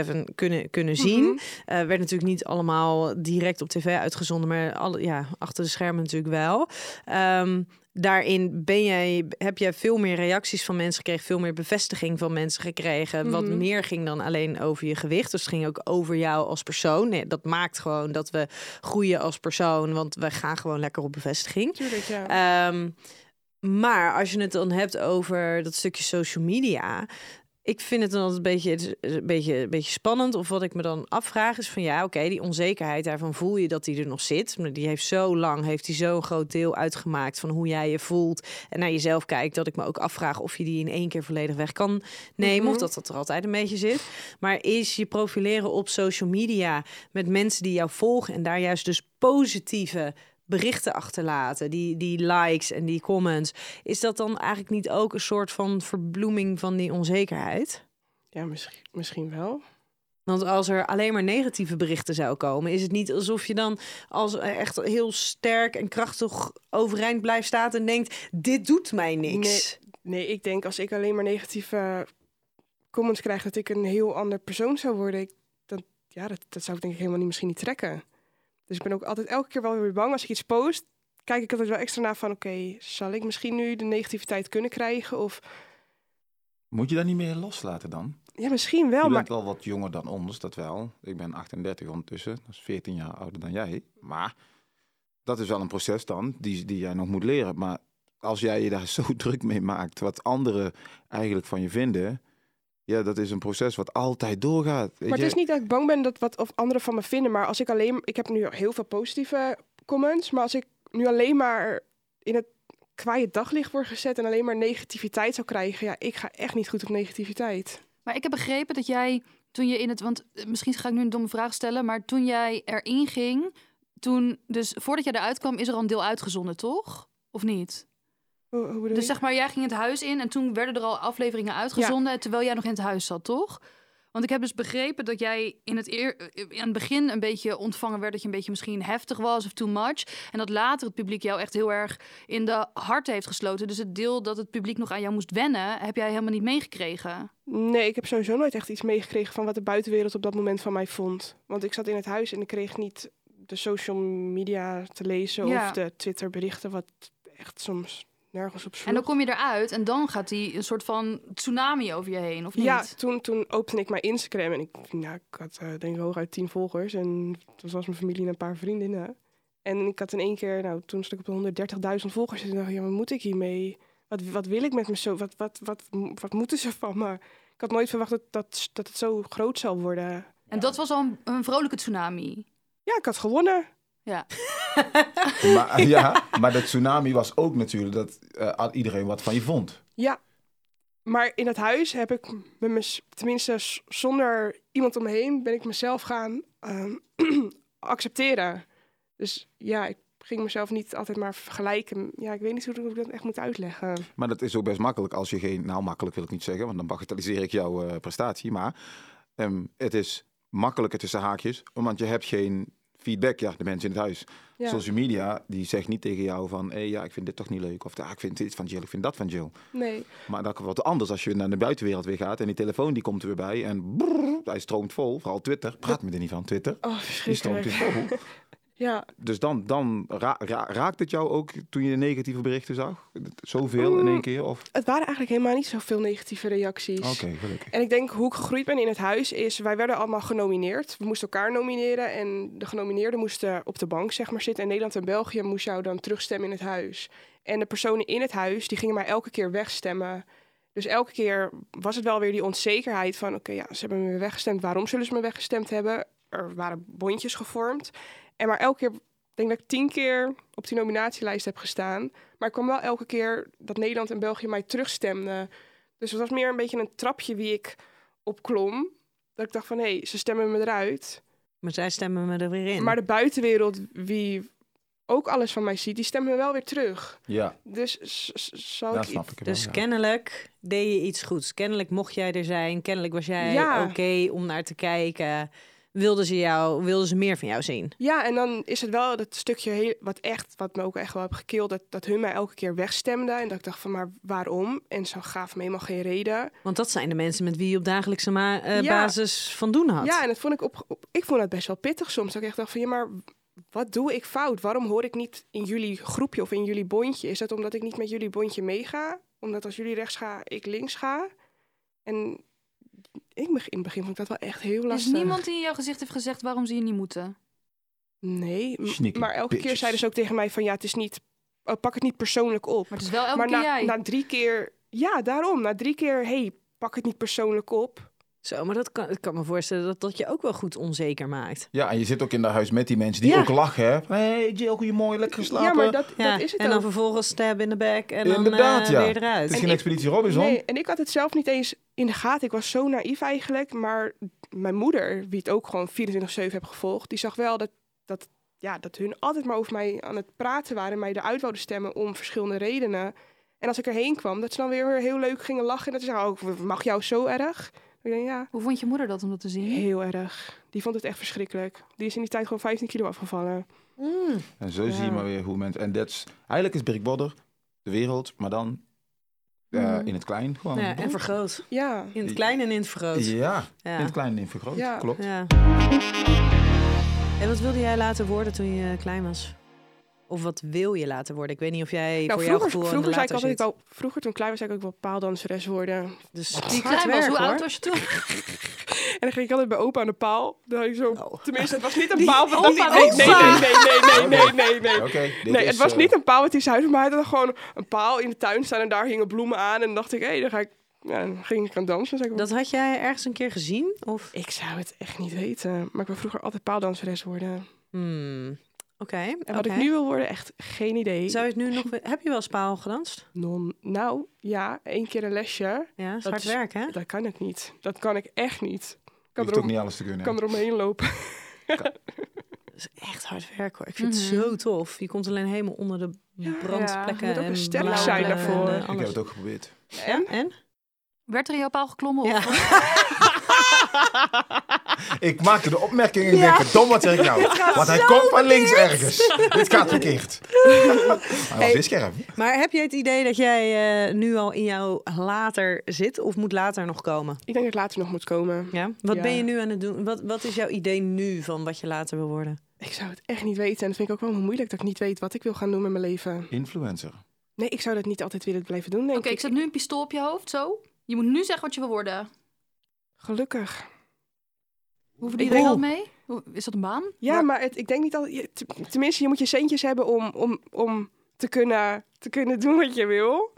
Speaker 3: 24/7 kunnen, kunnen zien. Eh, werd natuurlijk niet allemaal direct op tv uitgezonden, maar alle, ja, achter de schermen natuurlijk wel. Ehm, daarin ben jij, heb jij veel meer reacties van mensen gekregen, veel meer bevestiging van mensen gekregen. Wat meer ging dan alleen over je gewicht. Dus het ging ook over jou als persoon. Nee, dat maakt gewoon dat we groeien als persoon, want we gaan gewoon lekker op bevestiging.
Speaker 2: natuurlijk, ja.
Speaker 3: Ehm, maar als je het dan hebt over dat stukje social media. Ik vind het dan altijd een beetje, het is een beetje, een beetje spannend. Of wat ik me dan afvraag is van ja, oké, die onzekerheid daarvan voel je dat die er nog zit. Maar die heeft zo lang, heeft die zo'n groot deel uitgemaakt van hoe jij je voelt. En naar jezelf kijkt, dat ik me ook afvraag of je die in één keer volledig weg kan nemen. Of dat dat er altijd een beetje zit. Maar is je profileren op social media met mensen die jou volgen en daar juist dus positieve berichten achterlaten, die, die likes en die comments. Is dat dan eigenlijk niet ook een soort van verbloeming van die onzekerheid?
Speaker 2: ja misschien, misschien wel.
Speaker 3: Want als er alleen maar negatieve berichten zou komen, is het niet alsof je dan als eh, echt heel sterk en krachtig overeind blijft staan en denkt: dit doet mij niks.
Speaker 2: Nee, ik denk als ik alleen maar negatieve comments krijg, dat ik een heel ander persoon zou worden. Ik, dat, ja, dat, dat zou ik denk ik helemaal niet, misschien niet trekken. Dus ik ben ook altijd elke keer wel weer bang als ik iets post. Kijk ik altijd wel extra naar van, oké, zal ik misschien nu de negativiteit kunnen krijgen? Of
Speaker 4: Moet je dat niet meer loslaten dan?
Speaker 2: ja, misschien wel,
Speaker 4: je
Speaker 2: Nou, maar
Speaker 4: bent wel wat jonger dan ons, dat wel. Ik ben 38 ondertussen. Dat is 14 jaar ouder dan jij. Maar dat is wel een proces dan, die, die jij nog moet leren. Maar als jij je daar zo druk mee maakt, wat anderen eigenlijk van je vinden, ja, dat is een proces wat altijd doorgaat. weet
Speaker 2: Maar
Speaker 4: je.
Speaker 2: het is niet dat ik bang ben dat wat of anderen van me vinden. Maar als ik alleen. Ik heb nu heel veel positieve comments. Maar als ik nu alleen maar in het kwaaie daglicht word gezet. en alleen maar negativiteit zou krijgen. ja, ik ga echt niet goed op negativiteit.
Speaker 5: Maar ik heb begrepen dat jij toen je in het... Want eh, misschien ga ik nu een domme vraag stellen. Maar toen jij erin ging, toen... Dus voordat jij eruit kwam, is er al een deel uitgezonden, toch? Of niet?
Speaker 2: Hoe, hoe bedoel
Speaker 5: Dus
Speaker 2: je?
Speaker 5: zeg maar, jij ging het huis in en toen werden er al afleveringen uitgezonden... terwijl jij nog in het huis zat, toch? Want ik heb dus begrepen dat jij in het, eer, eh, aan het begin een beetje ontvangen werd... dat je een beetje misschien heftig was of too much. En dat later het publiek jou echt heel erg in de hart heeft gesloten. Dus het deel dat het publiek nog aan jou moest wennen... heb jij helemaal niet meegekregen.
Speaker 2: Nee, ik heb sowieso nooit echt iets meegekregen van wat de buitenwereld op dat moment van mij vond. Want ik zat in het huis en ik kreeg niet de social media te lezen
Speaker 5: Ja.
Speaker 2: of de Twitter berichten, wat echt soms nergens op sloeg.
Speaker 5: En dan kom je eruit en dan gaat die een soort van tsunami over je heen, of niet?
Speaker 2: Ja, toen, toen opende ik mijn Instagram en ik, nou, ik had eh, denk ik hooguit tien volgers. En dat was mijn familie en een paar vriendinnen. En ik had in één keer, nou, toen stond ik op de 130.000 volgers. En toen dacht ik, ja, wat moet ik hiermee? Wat, wat wil ik met me zo? Wat, wat, wat, wat moeten ze van me? Ik had nooit verwacht dat, dat, dat het zo groot zou worden.
Speaker 5: En dat was al een, een vrolijke tsunami.
Speaker 2: Ja, ik had gewonnen.
Speaker 5: Ja.
Speaker 4: Maar, ja, maar dat tsunami was ook natuurlijk dat eh, iedereen wat van je vond.
Speaker 2: Ja. Maar in dat huis heb ik, met mez- tenminste s- zonder iemand om me heen, ben ik mezelf gaan ehm, accepteren. Dus ja, ik ging mezelf niet altijd maar vergelijken. Ja, ik weet niet hoe hoe ik dat echt moet uitleggen.
Speaker 4: Maar dat is ook best makkelijk als je geen... Nou, makkelijk wil ik niet zeggen, want dan bagatelliseer ik jouw eh, prestatie. Maar ehm, het is makkelijker tussen haakjes, want je hebt geen feedback. Ja, de mensen in het huis.
Speaker 2: Ja.
Speaker 4: Social media, die zegt niet tegen jou van... Hé, ja, ik vind dit toch niet leuk. Of ah, ik vind dit van Jill, ik vind dat van Jill.
Speaker 2: Nee.
Speaker 4: Maar dat wordt anders als je naar de buitenwereld weer gaat... en die telefoon die komt er weer bij en brrr, hij stroomt vol. Vooral Twitter. Praat me er niet van, Twitter.
Speaker 2: Oh,
Speaker 4: Die stroomt weer
Speaker 2: verschrikkelijk.
Speaker 4: vol.
Speaker 2: Ja.
Speaker 4: Dus dan, dan ra- ra- raakt het jou ook toen je de negatieve berichten zag? Zoveel in één keer? Of?
Speaker 2: Het waren eigenlijk helemaal niet zoveel negatieve reacties.
Speaker 4: Oké, gelukkig.
Speaker 2: En ik denk hoe ik gegroeid ben in het huis is, wij werden allemaal genomineerd. We moesten elkaar nomineren en de genomineerden moesten op de bank zeg maar zitten. En Nederland en België moest jou dan terugstemmen in het huis. En de personen in het huis, die gingen mij elke keer wegstemmen. Dus elke keer was het wel weer die onzekerheid van, oké, ja, ze hebben me weer weggestemd. Waarom zullen ze me weggestemd hebben? Er waren bondjes gevormd. En maar elke keer, ik denk dat ik tien keer op die nominatielijst heb gestaan. Maar ik kwam wel elke keer dat Nederland en België mij terugstemden. Dus het was meer een beetje een trapje wie ik opklom. Dat ik dacht van, hé, ze stemmen me eruit.
Speaker 3: Maar zij stemmen me er weer in.
Speaker 2: Maar de buitenwereld, wie ook alles van mij ziet, die stemt me wel weer terug.
Speaker 4: Ja,
Speaker 2: Dus s- s- zou
Speaker 4: dat
Speaker 2: ik...
Speaker 4: snap ik wel.
Speaker 3: dus
Speaker 4: ja.
Speaker 3: kennelijk deed je iets goeds. Kennelijk mocht jij er zijn. Kennelijk was jij
Speaker 2: Ja.
Speaker 3: oké om naar te kijken. Wilden ze, jou, wilden ze meer van jou zien?
Speaker 2: Ja, en dan is het wel dat stukje heel, wat echt, wat me ook echt wel heb gekild, dat, dat hun mij elke keer wegstemden. En dat ik dacht van, maar waarom? En ze gaven me helemaal geen reden.
Speaker 3: Want dat zijn de mensen met wie je op dagelijkse ma- eh,
Speaker 2: Ja.
Speaker 3: basis van doen had.
Speaker 2: Ja, en dat vond ik op, op- ik vond dat best wel pittig soms. Dat ik echt dacht van ja, maar wat doe ik fout? Waarom hoor ik niet in jullie groepje of in jullie bondje? Is dat omdat ik niet met jullie bondje meega? Omdat als jullie rechts gaan, ik links ga? En ik, beg- in het begin vond ik dat wel echt heel
Speaker 5: Er is
Speaker 2: lastig.
Speaker 5: Dus niemand die in jouw gezicht heeft gezegd waarom ze je niet moeten.
Speaker 2: Nee, m-
Speaker 4: Sneaky
Speaker 2: maar elke keer
Speaker 4: bitches.
Speaker 2: zeiden ze ook tegen mij van ja, het is niet... eh, pak het niet persoonlijk op.
Speaker 5: Maar het is wel elke
Speaker 2: maar
Speaker 5: keer
Speaker 2: na,
Speaker 5: jij.
Speaker 2: na drie keer... Ja, daarom. Na drie keer, hey, pak het niet persoonlijk op.
Speaker 3: Zo, maar dat kan, ik kan me voorstellen dat dat je ook wel goed onzeker maakt.
Speaker 4: Ja, en je zit ook in dat huis met die mensen die
Speaker 3: Ja.
Speaker 4: ook lachen. Hé, hey, Jill, goeiemorgen, lekker geslapen.
Speaker 2: Ja, maar dat,
Speaker 3: Ja,
Speaker 2: dat is het
Speaker 3: en dan
Speaker 2: ook.
Speaker 3: vervolgens stab in de back en
Speaker 4: Inderdaad,
Speaker 3: dan eh,
Speaker 4: ja.
Speaker 3: weer eruit.
Speaker 4: Het is
Speaker 2: En
Speaker 4: geen
Speaker 2: ik-
Speaker 4: Expeditie Robinson.
Speaker 2: Nee, en ik had het zelf niet eens in de gaten. Ik was zo naïef eigenlijk. Maar mijn moeder, wie het ook gewoon 24-7 heb gevolgd, die zag wel dat, dat, ja, dat hun altijd maar over mij aan het praten waren. en Mij eruit wilden stemmen om verschillende redenen. En als ik erheen kwam, dat ze dan weer heel leuk gingen lachen. En dat ze zeiden, oh, mag jou zo erg? Ik denk, ja,
Speaker 5: Hoe vond je moeder dat om dat te
Speaker 3: Hm?
Speaker 5: zien?
Speaker 2: heel erg. Die vond het echt verschrikkelijk. Die is in die tijd gewoon 15 kilo afgevallen.
Speaker 3: Mm.
Speaker 4: En zo zie je maar weer hoe mensen... En dat is... Eigenlijk is Brick Bodder de wereld, maar dan eh,
Speaker 5: Mm.
Speaker 4: in het klein gewoon.
Speaker 3: Ja, en vergroot.
Speaker 2: Ja,
Speaker 3: In het klein en in het vergroot.
Speaker 4: Ja,
Speaker 3: Ja.
Speaker 4: in het klein en in vergroot.
Speaker 2: Ja.
Speaker 4: Klopt.
Speaker 3: Ja. En wat wilde jij laten worden toen je klein was? Of wat wil je laten worden? Ik weet niet of
Speaker 2: nou,
Speaker 3: jij
Speaker 2: vroeger,
Speaker 3: voor jouw gevoel aan de
Speaker 2: vroeger zei ik
Speaker 3: later
Speaker 2: altijd
Speaker 3: zit.
Speaker 2: wel, vroeger toen ik klein was, zei ik ook wel paaldanseres worden.
Speaker 3: Dus
Speaker 5: Die
Speaker 3: hard
Speaker 5: klein was,
Speaker 3: werk,
Speaker 5: hoe
Speaker 3: hoor.
Speaker 5: oud was je toen?
Speaker 2: dan ging ik altijd bij opa aan de paal. Dan had ik zo,
Speaker 3: Oh.
Speaker 2: tenminste, het was niet een
Speaker 3: Die
Speaker 2: paal. want dat
Speaker 5: opa,
Speaker 2: nee, nee, nee,
Speaker 5: opa.
Speaker 2: nee, nee, nee, nee, nee.
Speaker 4: Oké, dit
Speaker 2: Nee,
Speaker 4: is,
Speaker 2: het was
Speaker 4: eh,
Speaker 2: niet een paal met iets huis, maar hij had dan gewoon een paal in de tuin staan en daar hingen bloemen aan. En dan dacht ik, hé, dan ga ik, ja, dan ging ik aan dansen. Dan zei ik,
Speaker 3: Dat had jij ergens een keer gezien? Of?
Speaker 2: ik zou het echt niet weten, maar ik wil vroeger altijd paaldanseres worden.
Speaker 3: Hmm. Oké.
Speaker 2: En wat
Speaker 3: oké.
Speaker 2: ik nu wil worden, echt geen idee.
Speaker 3: Zou je het nu nog... Heb je wel spaal gedanst?
Speaker 2: Non, nou, ja, één keer een lesje,
Speaker 3: Ja, dat is
Speaker 2: Dat
Speaker 3: hard
Speaker 2: is-
Speaker 3: werk, hè?
Speaker 2: dat kan ik niet. Dat kan ik echt niet. Ik
Speaker 4: Je
Speaker 2: kan,
Speaker 4: hoeft ook
Speaker 2: erom,
Speaker 4: niet alles te kunnen.
Speaker 2: kan eromheen lopen.
Speaker 3: Dat is echt hard werk, hoor. Ik vind
Speaker 5: Mhm.
Speaker 3: het zo tof. Je komt alleen helemaal onder de brandplekken
Speaker 2: je moet ook
Speaker 3: en
Speaker 2: een sterk
Speaker 3: blauwe
Speaker 5: zijn
Speaker 3: en,
Speaker 2: daarvoor.
Speaker 3: eh,
Speaker 2: Ik heb
Speaker 4: Ik
Speaker 3: alles.
Speaker 4: heb het ook geprobeerd.
Speaker 3: Ja, en?
Speaker 5: Werd er in jouw paal geklommen?
Speaker 3: Ja.
Speaker 5: Of?
Speaker 4: Ik maakte de opmerking en ik denk, verdomme, wat zeg ik nou? Want hij komt van links ergens. Dit gaat verkeerd. Hij was
Speaker 3: Hey.
Speaker 4: weer scherp.
Speaker 3: Maar heb jij het idee dat jij eh, nu al in jouw later zit? Of moet later nog komen?
Speaker 2: Ik denk dat het later nog moet komen.
Speaker 3: Ja? Wat
Speaker 2: Ja.
Speaker 3: ben je nu aan het doen? Wat, wat is jouw idee nu van wat je later wil worden?
Speaker 2: Ik zou het echt niet weten. En dat vind ik ook wel moeilijk dat ik niet weet wat ik wil gaan doen met mijn leven.
Speaker 4: Influencer.
Speaker 2: Nee, ik zou dat niet altijd willen blijven doen, denk
Speaker 5: Oké, ik
Speaker 2: ik.
Speaker 5: zet nu een pistool op je hoofd, zo. Je moet nu zeggen wat je wil worden.
Speaker 2: Gelukkig.
Speaker 5: Hoeveel die
Speaker 3: Ik wil-
Speaker 5: geld mee? Hoe- Is dat een baan?
Speaker 2: Ja,
Speaker 3: Maar-
Speaker 2: maar, het, ik denk niet dat... je- te- tenminste, je moet je centjes hebben om, om, om te, kunnen, te kunnen doen wat je wil.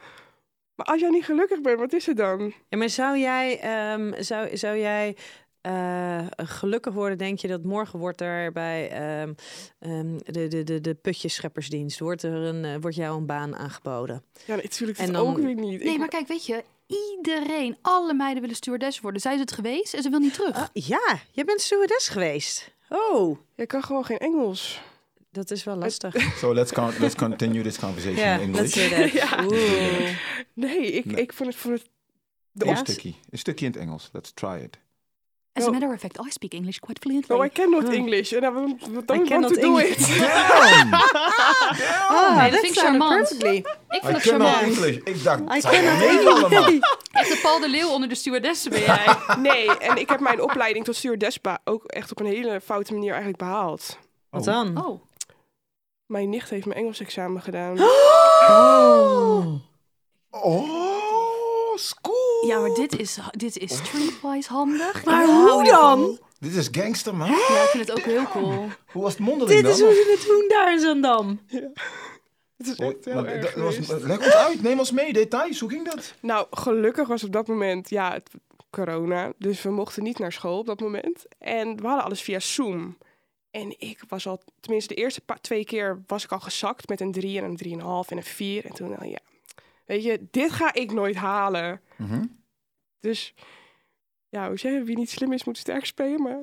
Speaker 2: Maar als jij niet gelukkig bent, wat is het dan?
Speaker 3: Ja, maar zou jij, ehm, zou, zou jij eh, gelukkig worden, denk je dat morgen wordt er bij ehm, ehm, de, de, de, de putjescheppersdienst, wordt, er een, eh, wordt jou een baan aangeboden?
Speaker 2: Ja, natuurlijk
Speaker 3: En
Speaker 2: dat
Speaker 3: dan-
Speaker 2: ook weer niet.
Speaker 5: Nee,
Speaker 2: Ik-
Speaker 5: maar kijk, weet je, iedereen, alle meiden willen stewardess worden. Zij is het geweest en ze wil niet terug.
Speaker 3: Ah, ja, jij bent stewardess geweest. Oh,
Speaker 2: Je kan gewoon geen Engels.
Speaker 3: dat is wel lastig.
Speaker 4: So let's, con- let's continue this conversation
Speaker 3: Ja,
Speaker 4: in
Speaker 3: let's
Speaker 4: English.
Speaker 3: do that.
Speaker 2: Ja.
Speaker 3: Oeh.
Speaker 2: Nee, ik,
Speaker 4: Nee.
Speaker 2: ik vond het... Vond het de
Speaker 4: Een
Speaker 3: Ja.
Speaker 4: stukje. Een stukje in het Engels. Let's try it.
Speaker 5: As a
Speaker 2: Oh.
Speaker 5: matter of fact, I speak English quite fluently.
Speaker 2: Oh, I cannot
Speaker 3: Ah.
Speaker 2: English. En dan wat
Speaker 3: I
Speaker 2: don't want
Speaker 3: cannot
Speaker 2: to do
Speaker 3: English.
Speaker 2: it.
Speaker 4: Damn!
Speaker 3: Ah,
Speaker 5: dat
Speaker 3: that
Speaker 5: vind
Speaker 3: sounded
Speaker 5: ik charmant.
Speaker 3: perfectly.
Speaker 5: Ik
Speaker 4: I
Speaker 5: vind het
Speaker 4: cannot
Speaker 5: charmant.
Speaker 4: English. Ik dacht,
Speaker 3: I
Speaker 4: het zou
Speaker 3: cannot
Speaker 4: wel meevallen, maar-
Speaker 5: Echt de Paul de Leeuw onder de stewardessen ben jij.
Speaker 2: Nee, en ik heb mijn opleiding tot stewardespa ook echt op een hele foute manier eigenlijk behaald.
Speaker 3: Wat dan?
Speaker 5: Oh,
Speaker 2: Mijn nicht heeft mijn Engels examen gedaan.
Speaker 3: Oh.
Speaker 4: Oh, school.
Speaker 5: ja, maar dit is, dit is streetwise handig.
Speaker 3: Maar
Speaker 5: Ik hou
Speaker 3: hoe
Speaker 5: hiervan.
Speaker 3: dan?
Speaker 4: Dit is gangster, man.
Speaker 5: Ja, ik vind het ook heel cool.
Speaker 4: Hoe was het mondeling
Speaker 3: Dit
Speaker 4: dan?
Speaker 3: is hoe ze het doen daar in Zandam.
Speaker 2: Het is echt
Speaker 4: Oh,
Speaker 2: heel
Speaker 4: maar
Speaker 2: erg
Speaker 4: dat- dat was-
Speaker 2: geweest.
Speaker 4: Leg ons uit, neem ons mee, details, hoe ging dat?
Speaker 2: Nou, gelukkig was op dat moment, ja, het, corona. Dus we mochten niet naar school op dat moment. En we hadden alles via Zoom. En ik was al, tenminste de eerste pa- twee keer was ik al gezakt met een drie en een drieënhalf en een vier. En toen, nou ja, weet je, dit ga ik nooit halen.
Speaker 4: Mhm.
Speaker 2: Dus, ja, hoe zeg je, wie niet slim is moet sterk spelen. Maar...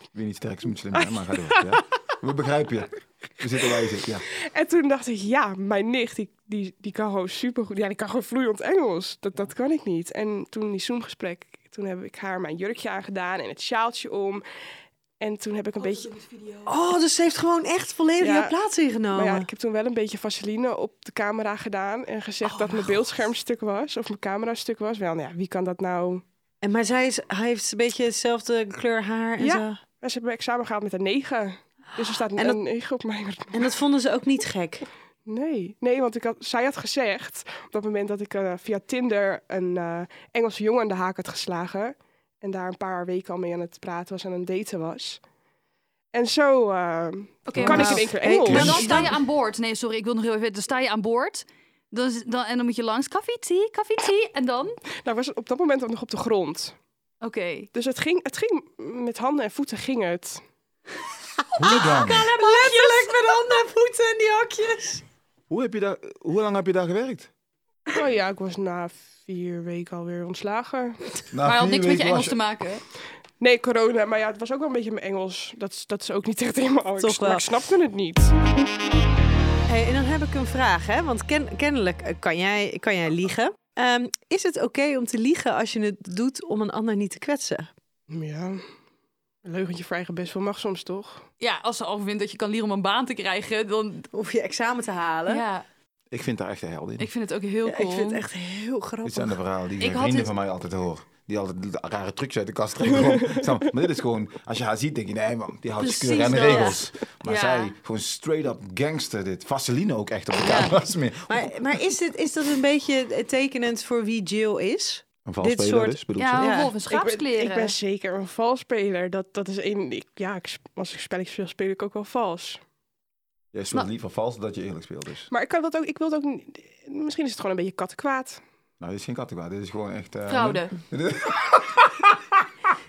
Speaker 4: Ik weet niet sterk, ze moet slim zijn, maar ga door. Ja? We begrijpen je. We zitten waar je zit, ja.
Speaker 2: En toen dacht ik, ja, mijn nicht, die, die, die kan gewoon supergoed. Ja, die kan gewoon vloeiend Engels. Dat, dat kan ik niet. En toen die Zoom-gesprek, toen heb ik haar mijn jurkje aangedaan en het sjaaltje om. En toen heb ik een beetje...
Speaker 3: Oh, dus ze heeft gewoon echt volledig
Speaker 2: Ja.
Speaker 3: jouw plaats ingenomen.
Speaker 2: Maar ja, ik heb toen wel een beetje vaseline op de camera gedaan en gezegd
Speaker 3: Oh,
Speaker 2: dat mijn beeldscherm stuk was of mijn camera stuk was. Wel, nou ja, wie kan dat nou?
Speaker 3: En maar zij is, hij heeft een beetje hetzelfde kleur haar en
Speaker 2: Ja.
Speaker 3: zo.
Speaker 2: En ze hebben examen gehaald met een 9. Dus er staat een,
Speaker 3: En dat-
Speaker 2: een 9 op mijn...
Speaker 3: En dat vonden ze ook niet gek.
Speaker 2: Nee, nee, want ik had, zij had gezegd op dat moment dat ik eh, via Tinder een eh, Engelse jongen aan de haak had geslagen. En daar een paar weken al mee aan het praten was en aan het daten was. En zo eh,
Speaker 5: Oké,
Speaker 2: kan
Speaker 5: maar-
Speaker 2: ik in één keer
Speaker 3: Hey,
Speaker 2: Engels.
Speaker 5: Maar dan
Speaker 4: Yes.
Speaker 5: sta je aan boord. Nee, sorry, ik wil nog heel even weten. Dan sta je aan boord. Dan, is- dan, en dan moet je langs koffie, thee, koffie, thee. En dan? Oké.
Speaker 2: Nou was het op dat moment ook nog op de grond.
Speaker 5: Ah,
Speaker 2: Dus het ging, het ging met handen en voeten ging het.
Speaker 4: Hoe dan?
Speaker 3: Ah, Letterlijk met handen en voeten en die hakjes.
Speaker 4: Hoe, heb je daar, hoe lang heb je daar gewerkt?
Speaker 2: Oh ja, ik was na vier weken alweer ontslagen.
Speaker 4: Na
Speaker 5: maar had
Speaker 4: vier
Speaker 5: niks met je
Speaker 4: weken was
Speaker 5: Engels te maken.
Speaker 2: Nee, corona, maar ja, het was ook wel een beetje mijn Engels. Dat, is- dat is ook niet echt helemaal... Ik,
Speaker 3: Toch
Speaker 2: s- maar
Speaker 3: wel.
Speaker 2: ik snapte het niet.
Speaker 3: Hey, en dan heb ik een vraag, hè? want ken- kennelijk eh, kan jij, kan jij liegen. Ehm, is het oké om te liegen als je het doet om een ander niet te kwetsen?
Speaker 2: Ja, een leugentje vragen best wel mag soms toch?
Speaker 5: Ja, als ze overwint dat je kan leren om een baan te krijgen, dan...
Speaker 3: Of je examen te halen?
Speaker 5: Ja,
Speaker 4: Ik vind daar echt een held in.
Speaker 5: ik vind het ook heel
Speaker 3: Ja,
Speaker 5: cool.
Speaker 3: ik vind het echt heel
Speaker 4: Dit
Speaker 3: grappig.
Speaker 4: zijn de verhalen die
Speaker 5: Ik had
Speaker 4: vrienden
Speaker 5: het-
Speaker 4: van mij altijd horen. Die altijd rare trucs uit de kast trekken. Gewoon, snap je? maar dit is gewoon, als je haar ziet, denk je, nee man, die houdt
Speaker 5: Precies
Speaker 4: zich keurig aan de
Speaker 5: dat.
Speaker 4: regels. Maar
Speaker 5: Ja.
Speaker 4: zij, gewoon straight up gangster dit. Vaseline ook echt op de camera's meer.
Speaker 3: Maar, maar is, dit, is dat een beetje eh, tekenend voor wie Jill is?
Speaker 4: Een valspeler
Speaker 3: soort-
Speaker 4: dus, bedoel
Speaker 5: Ja,
Speaker 4: ze?
Speaker 5: een wolf
Speaker 2: ik
Speaker 5: en
Speaker 2: ben-
Speaker 5: schaapskleren.
Speaker 2: Ik ben, zeker een valspeler. Dat, dat is één. Ik, ja, ik, sp- als ik spelletjes speel, speel ik ook wel vals.
Speaker 4: Jij speelt
Speaker 5: Nou-
Speaker 4: liever vals dan dat je eerlijk speelt dus.
Speaker 2: Maar ik kan dat ook. Ik wil het ook. niet- Misschien is het gewoon een beetje kattenkwaad.
Speaker 4: Nou, dit is geen kattenkwaad. Dit is gewoon echt... eh,
Speaker 5: Fraude.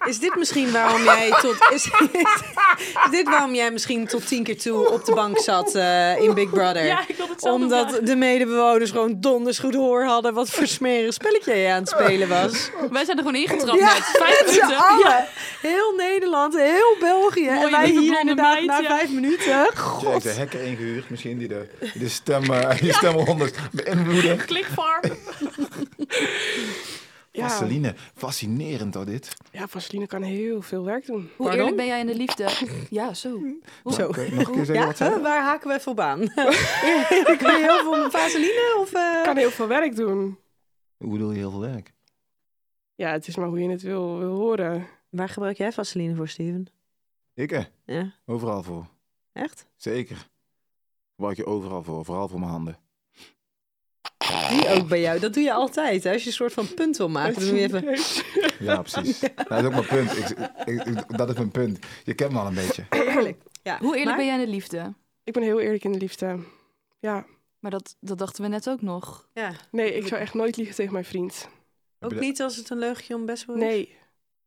Speaker 3: Is dit misschien waarom jij tot. Is, is dit waarom jij misschien tot tien keer toe op de bank zat eh, in Big Brother?
Speaker 5: Ja, ik wil het
Speaker 3: Omdat de medebewoners gewoon donders goed hoor hadden wat voor smerig spelletje je aan het spelen was.
Speaker 5: Wij zijn er gewoon ingetrapt
Speaker 3: Ja, Oh,
Speaker 5: met vijf
Speaker 3: Met z'n
Speaker 5: minuten.
Speaker 3: allen. Heel Nederland, heel België. en wij hier
Speaker 5: lieve blonde
Speaker 3: inderdaad
Speaker 5: meid,
Speaker 3: na
Speaker 5: ja.
Speaker 3: vijf minuten.
Speaker 4: Je heeft een hacker ingehuurd, misschien die de, de stem, eh, die stemrondes beïnvloeden.
Speaker 5: Klikvarm.
Speaker 2: Ja,
Speaker 4: Vaseline, fascinerend al dit.
Speaker 2: ja, Vaseline kan heel veel werk doen.
Speaker 5: Hoe
Speaker 3: Pardon?
Speaker 5: eerlijk ben jij in de liefde? Ja, zo. Hoe-
Speaker 3: Zo.
Speaker 4: Kun je nog een keer zeggen
Speaker 3: Ja,
Speaker 4: wat ze...
Speaker 3: huh, waar haken we even op aan? Ik ben heel veel vaseline of... eh,
Speaker 2: Kan heel veel werk doen.
Speaker 4: Hoe bedoel je heel veel werk?
Speaker 2: Ja, het is maar hoe je het wil, wil horen.
Speaker 3: Waar gebruik jij vaseline voor, Steven?
Speaker 4: Ik eh,
Speaker 3: Ja,
Speaker 4: Overal voor.
Speaker 3: echt?
Speaker 4: Zeker. Gebruik je overal voor. Vooral voor mijn handen.
Speaker 3: Die ook bij jou. Dat doe je altijd. Hè? Als je een soort van punt wil maken, dan doe je even...
Speaker 4: Ja, precies. Dat is ook mijn punt. Ik, ik- ik- dat is mijn punt. Je kent me al een beetje.
Speaker 3: Eerlijk. Ja.
Speaker 5: Hoe eerlijk
Speaker 3: Maar-
Speaker 5: ben jij in de liefde?
Speaker 2: Ik ben heel eerlijk in de liefde. Ja.
Speaker 5: Maar dat, dat dachten we net ook nog.
Speaker 3: Ja.
Speaker 2: Nee, ik zou echt nooit liegen tegen mijn vriend.
Speaker 4: Heb
Speaker 3: Ook
Speaker 4: je da-
Speaker 3: niet als het een leugje om best wel is?
Speaker 2: Nee.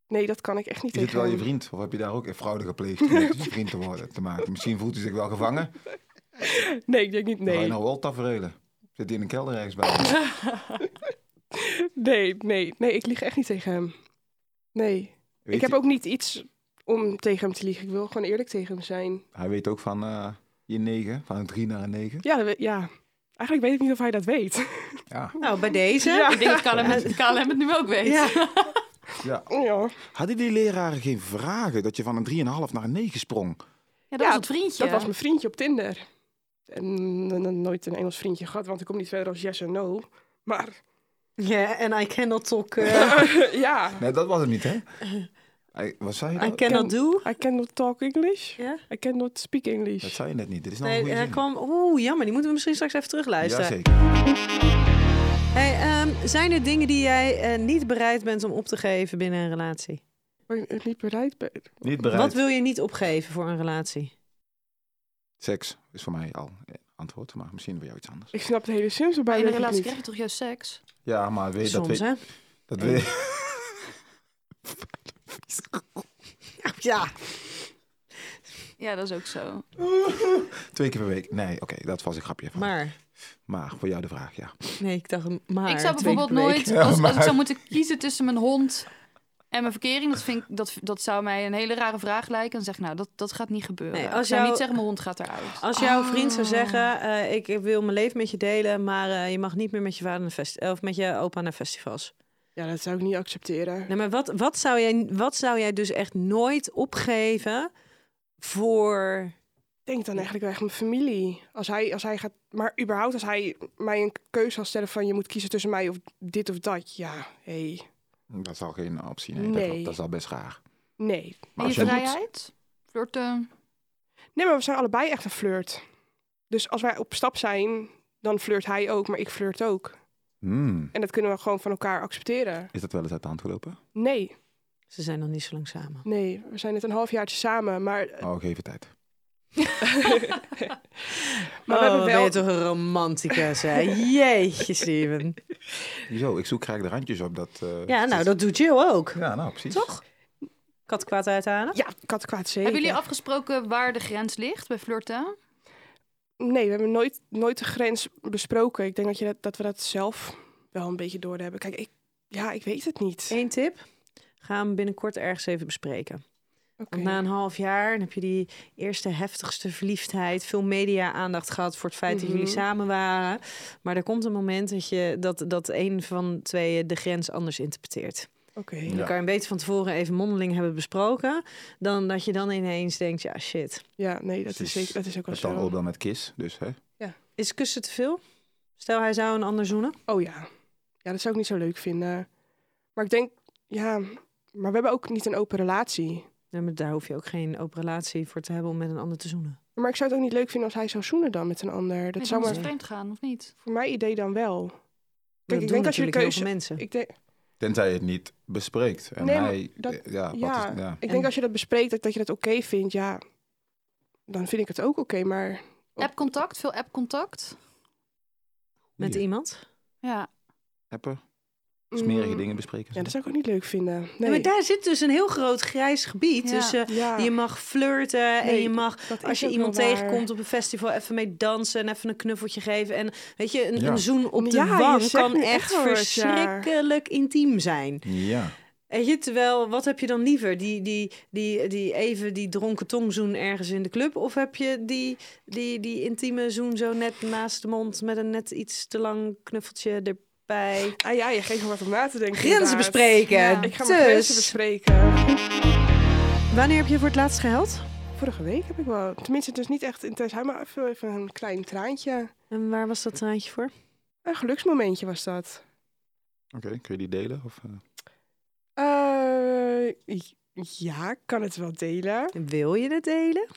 Speaker 2: Nee, dat kan ik echt niet
Speaker 4: Is het
Speaker 2: tegen
Speaker 4: wel je
Speaker 2: hem.
Speaker 4: vriend? Of heb je daar ook een fraude gepleegd om met je vriend te, worden, te maken? Misschien voelt hij zich wel gevangen.
Speaker 2: Nee, ik denk niet
Speaker 4: Dan Ga je
Speaker 2: nee.
Speaker 4: nou wel taferelen? Zit hij in een kelder ergens bij? je?
Speaker 2: Nee, nee, nee, ik lieg echt niet tegen hem. Nee.
Speaker 4: Weet
Speaker 2: ik heb
Speaker 4: hij-
Speaker 2: ook niet iets om tegen hem te liegen. Ik wil gewoon eerlijk tegen hem zijn.
Speaker 4: Hij weet ook van eh, je negen. Van een drie naar een negen.
Speaker 2: Ja, dat we- ja. Eigenlijk weet ik niet of hij dat weet.
Speaker 4: Ja.
Speaker 3: Nou, bij deze.
Speaker 5: Ik denk dat KLM, het- KLM het nu ook weet.
Speaker 3: Ja.
Speaker 4: ja.
Speaker 2: Ja,
Speaker 4: Hadden die leraren geen vragen dat je van een 3,5 naar een 9 sprong?
Speaker 5: Ja, dat
Speaker 2: Ja,
Speaker 5: was het vriendje.
Speaker 2: dat was mijn vriendje op Tinder. En, eh, nooit een Engels vriendje gehad, want ik kom niet verder als yes en no. Maar
Speaker 3: Ja, en I cannot talk. eh,
Speaker 2: ja,
Speaker 4: Nee, dat was het niet, hè? Hij- Wat zei je
Speaker 3: I
Speaker 4: nou?
Speaker 3: cannot do.
Speaker 2: I cannot talk English.
Speaker 3: Ja?
Speaker 2: I cannot speak
Speaker 4: Dat
Speaker 2: English.
Speaker 4: zei je net niet. Dit is nou een
Speaker 3: Nee,
Speaker 4: goede
Speaker 3: hij
Speaker 4: zin.
Speaker 3: kwam... Oeh, jammer. Die moeten we misschien straks even terugluisteren.
Speaker 4: Jazeker.
Speaker 3: Hey, ehm, zijn er dingen die jij eh, niet bereid bent om op te geven binnen een relatie?
Speaker 2: Waar ik het niet bereid ben.
Speaker 4: Niet bereid.
Speaker 3: Wat wil je niet opgeven voor een relatie?
Speaker 4: Seks is voor mij al een antwoord, maar misschien wil jou iets anders.
Speaker 2: Ik snap de hele Sims
Speaker 5: Maar
Speaker 2: bij
Speaker 5: in een
Speaker 2: denk ik
Speaker 5: relatie
Speaker 2: niet.
Speaker 5: krijg je toch juist seks?
Speaker 4: Ja, maar weet, dat
Speaker 3: Soms,
Speaker 4: weet...
Speaker 3: hè?
Speaker 4: Dat weet...
Speaker 3: Ja.
Speaker 5: Ja, dat is ook zo.
Speaker 4: Twee keer per week. Nee, oké, dat was een grapje. Van. Maar...
Speaker 3: Maar.
Speaker 4: voor jou de vraag, ja.
Speaker 3: Nee, ik dacht maar.
Speaker 5: ik zou
Speaker 3: twee keer
Speaker 5: bijvoorbeeld
Speaker 3: per week.
Speaker 5: nooit,
Speaker 4: Ja,
Speaker 5: als, als ik
Speaker 4: maar-
Speaker 5: zou moeten kiezen tussen mijn hond en mijn verkering, dat, vind ik, dat, dat zou mij een hele rare vraag lijken. En zeg ik, nou, dat, dat gaat niet gebeuren.
Speaker 3: Nee, als
Speaker 5: ik zou
Speaker 3: jou-
Speaker 5: niet zeggen, mijn hond gaat eruit.
Speaker 3: Als jouw vriend zou zeggen, eh, ik wil mijn leven met je delen, maar eh, je mag niet meer met je vader naar fest- of met je opa naar festivals.
Speaker 2: Ja, dat zou ik niet accepteren.
Speaker 3: Nee, maar wat, wat, zou jij, wat zou jij dus echt nooit opgeven voor...
Speaker 2: Ik denk dan eigenlijk wel echt mijn familie. Als hij, als hij gaat, maar überhaupt als hij mij een keuze zal stellen van je moet kiezen tussen mij of dit of dat. Ja, hé.
Speaker 4: Dat is al geen optie. Nee,
Speaker 2: Nee.
Speaker 4: Dat, klopt. dat is al best raar.
Speaker 2: Nee.
Speaker 5: en je
Speaker 4: als jij moet-
Speaker 5: vrijheid? Flirten?
Speaker 2: Nee, maar we zijn allebei echt een flirt. Dus als wij op stap zijn, dan flirt hij ook, maar ik flirt ook.
Speaker 4: Hmm.
Speaker 2: En dat kunnen we gewoon van elkaar accepteren.
Speaker 4: Is dat wel eens uit de hand gelopen?
Speaker 2: Nee,
Speaker 3: Ze zijn nog niet zo lang samen.
Speaker 2: nee. We zijn net een half jaartje samen, maar, eh,
Speaker 4: Oh, geef het tijd.
Speaker 2: maar we
Speaker 3: oh,
Speaker 2: hebben
Speaker 3: ben
Speaker 2: wel...
Speaker 3: je toch een romanticus, hè? Jeetje, Steven.
Speaker 4: Zo, ik zoek graag de randjes op dat... eh,
Speaker 3: Ja, nou, dat doet Jill ook.
Speaker 4: Ja, nou, precies.
Speaker 3: Toch? Kat kwaad uithalen?
Speaker 2: Ja, kat kwaad zeker.
Speaker 5: Hebben jullie afgesproken waar de grens ligt bij flirten?
Speaker 2: Nee, we hebben nooit, nooit de grens besproken. Ik denk dat, je dat, dat we dat zelf wel een beetje doorhebben. Kijk, ik, ja, ik weet het niet.
Speaker 3: Eén tip. Ga hem binnenkort ergens even bespreken.
Speaker 2: Oké.
Speaker 3: Want na een half jaar dan heb je die eerste heftigste verliefdheid, veel media-aandacht gehad voor het feit dat jullie
Speaker 2: Mhm.
Speaker 3: samen waren. Maar er komt een moment dat, je, dat, dat een van tweeën de grens anders interpreteert.
Speaker 2: Oké.
Speaker 3: En
Speaker 4: Ja.
Speaker 3: Dan kan je beter van tevoren even mondeling hebben besproken, dan dat je dan ineens denkt, ja shit,
Speaker 2: Ja, nee, dat is,
Speaker 4: Precies.
Speaker 2: zeker, dat is ook wel
Speaker 4: Dat dan
Speaker 2: zo.
Speaker 4: ook dan met KIS, dus hè.
Speaker 3: is kussen te veel? Stel hij zou een ander zoenen.
Speaker 2: Oh ja. Ja, dat zou ik niet zo leuk vinden. Maar ik denk, ja... Maar we hebben ook niet een open relatie.
Speaker 3: Nee, maar daar hoef je ook geen open relatie voor te hebben om met een ander te zoenen.
Speaker 2: Maar ik zou het ook niet leuk vinden als hij zou zoenen dan met een ander. Dat
Speaker 5: Met
Speaker 2: zou
Speaker 5: zou
Speaker 2: maar
Speaker 5: vreemd gaan, of niet?
Speaker 2: voor mijn idee dan wel.
Speaker 3: Maar
Speaker 2: ik
Speaker 3: dat
Speaker 2: denk
Speaker 3: doen
Speaker 2: als je de
Speaker 3: natuurlijk heel veel
Speaker 2: keuze-
Speaker 3: mensen.
Speaker 2: Ik denk,
Speaker 4: Tenzij je het niet bespreekt. En
Speaker 2: Nee, maar
Speaker 4: hij,
Speaker 2: dat-
Speaker 4: eh, ja,
Speaker 2: ja,
Speaker 4: Wat is, ja.
Speaker 2: ik denk als je dat bespreekt, dat, dat je dat oké vindt, ja, dan vind ik het ook oké. maar
Speaker 5: App-contact, veel app-contact.
Speaker 3: Met
Speaker 4: Hier,
Speaker 3: iemand?
Speaker 5: Ja.
Speaker 4: appen, smerige
Speaker 2: mm,
Speaker 4: dingen bespreken.
Speaker 2: Ja, dat zou ik ook niet leuk vinden.
Speaker 3: Ja,
Speaker 2: Nee,
Speaker 3: maar daar zit dus een heel groot grijs gebied.
Speaker 5: Ja.
Speaker 3: tussen
Speaker 2: ja,
Speaker 3: je mag flirten en
Speaker 2: Nee,
Speaker 3: je mag
Speaker 2: dat
Speaker 3: als
Speaker 2: is
Speaker 3: je
Speaker 2: ook
Speaker 3: iemand
Speaker 2: wel waar.
Speaker 3: tegenkomt op een festival even mee dansen en even een knuffeltje geven en weet je een,
Speaker 4: Ja.
Speaker 3: een zoen op de
Speaker 2: Ja, je
Speaker 3: wang
Speaker 2: zegt
Speaker 3: kan
Speaker 2: nu
Speaker 3: echt,
Speaker 2: echt wat, ja.
Speaker 3: verschrikkelijk intiem zijn.
Speaker 4: Ja.
Speaker 3: Weet je, terwijl wat heb je dan liever die, die, die, die even die dronken tongzoen ergens in de club of heb je die, die, die intieme zoen zo net naast de mond met een net iets te lang knuffeltje erbij?
Speaker 2: Ah ja, je geeft me wat om na te denken.
Speaker 3: Grenzen
Speaker 2: inderdaad.
Speaker 3: bespreken.
Speaker 5: Ja.
Speaker 2: Ik ga
Speaker 3: dus,
Speaker 2: mijn grenzen bespreken.
Speaker 3: wanneer heb je voor het laatst geheld?
Speaker 2: Vorige week heb ik wel. Tenminste, het is niet echt intens, maar even, even een klein traantje.
Speaker 3: En waar was dat traantje voor?
Speaker 2: Een geluksmomentje was dat.
Speaker 4: Oké, kun je die delen? Of, eh?
Speaker 2: Eh, j- ja, ik kan het wel delen.
Speaker 3: Wil je het delen?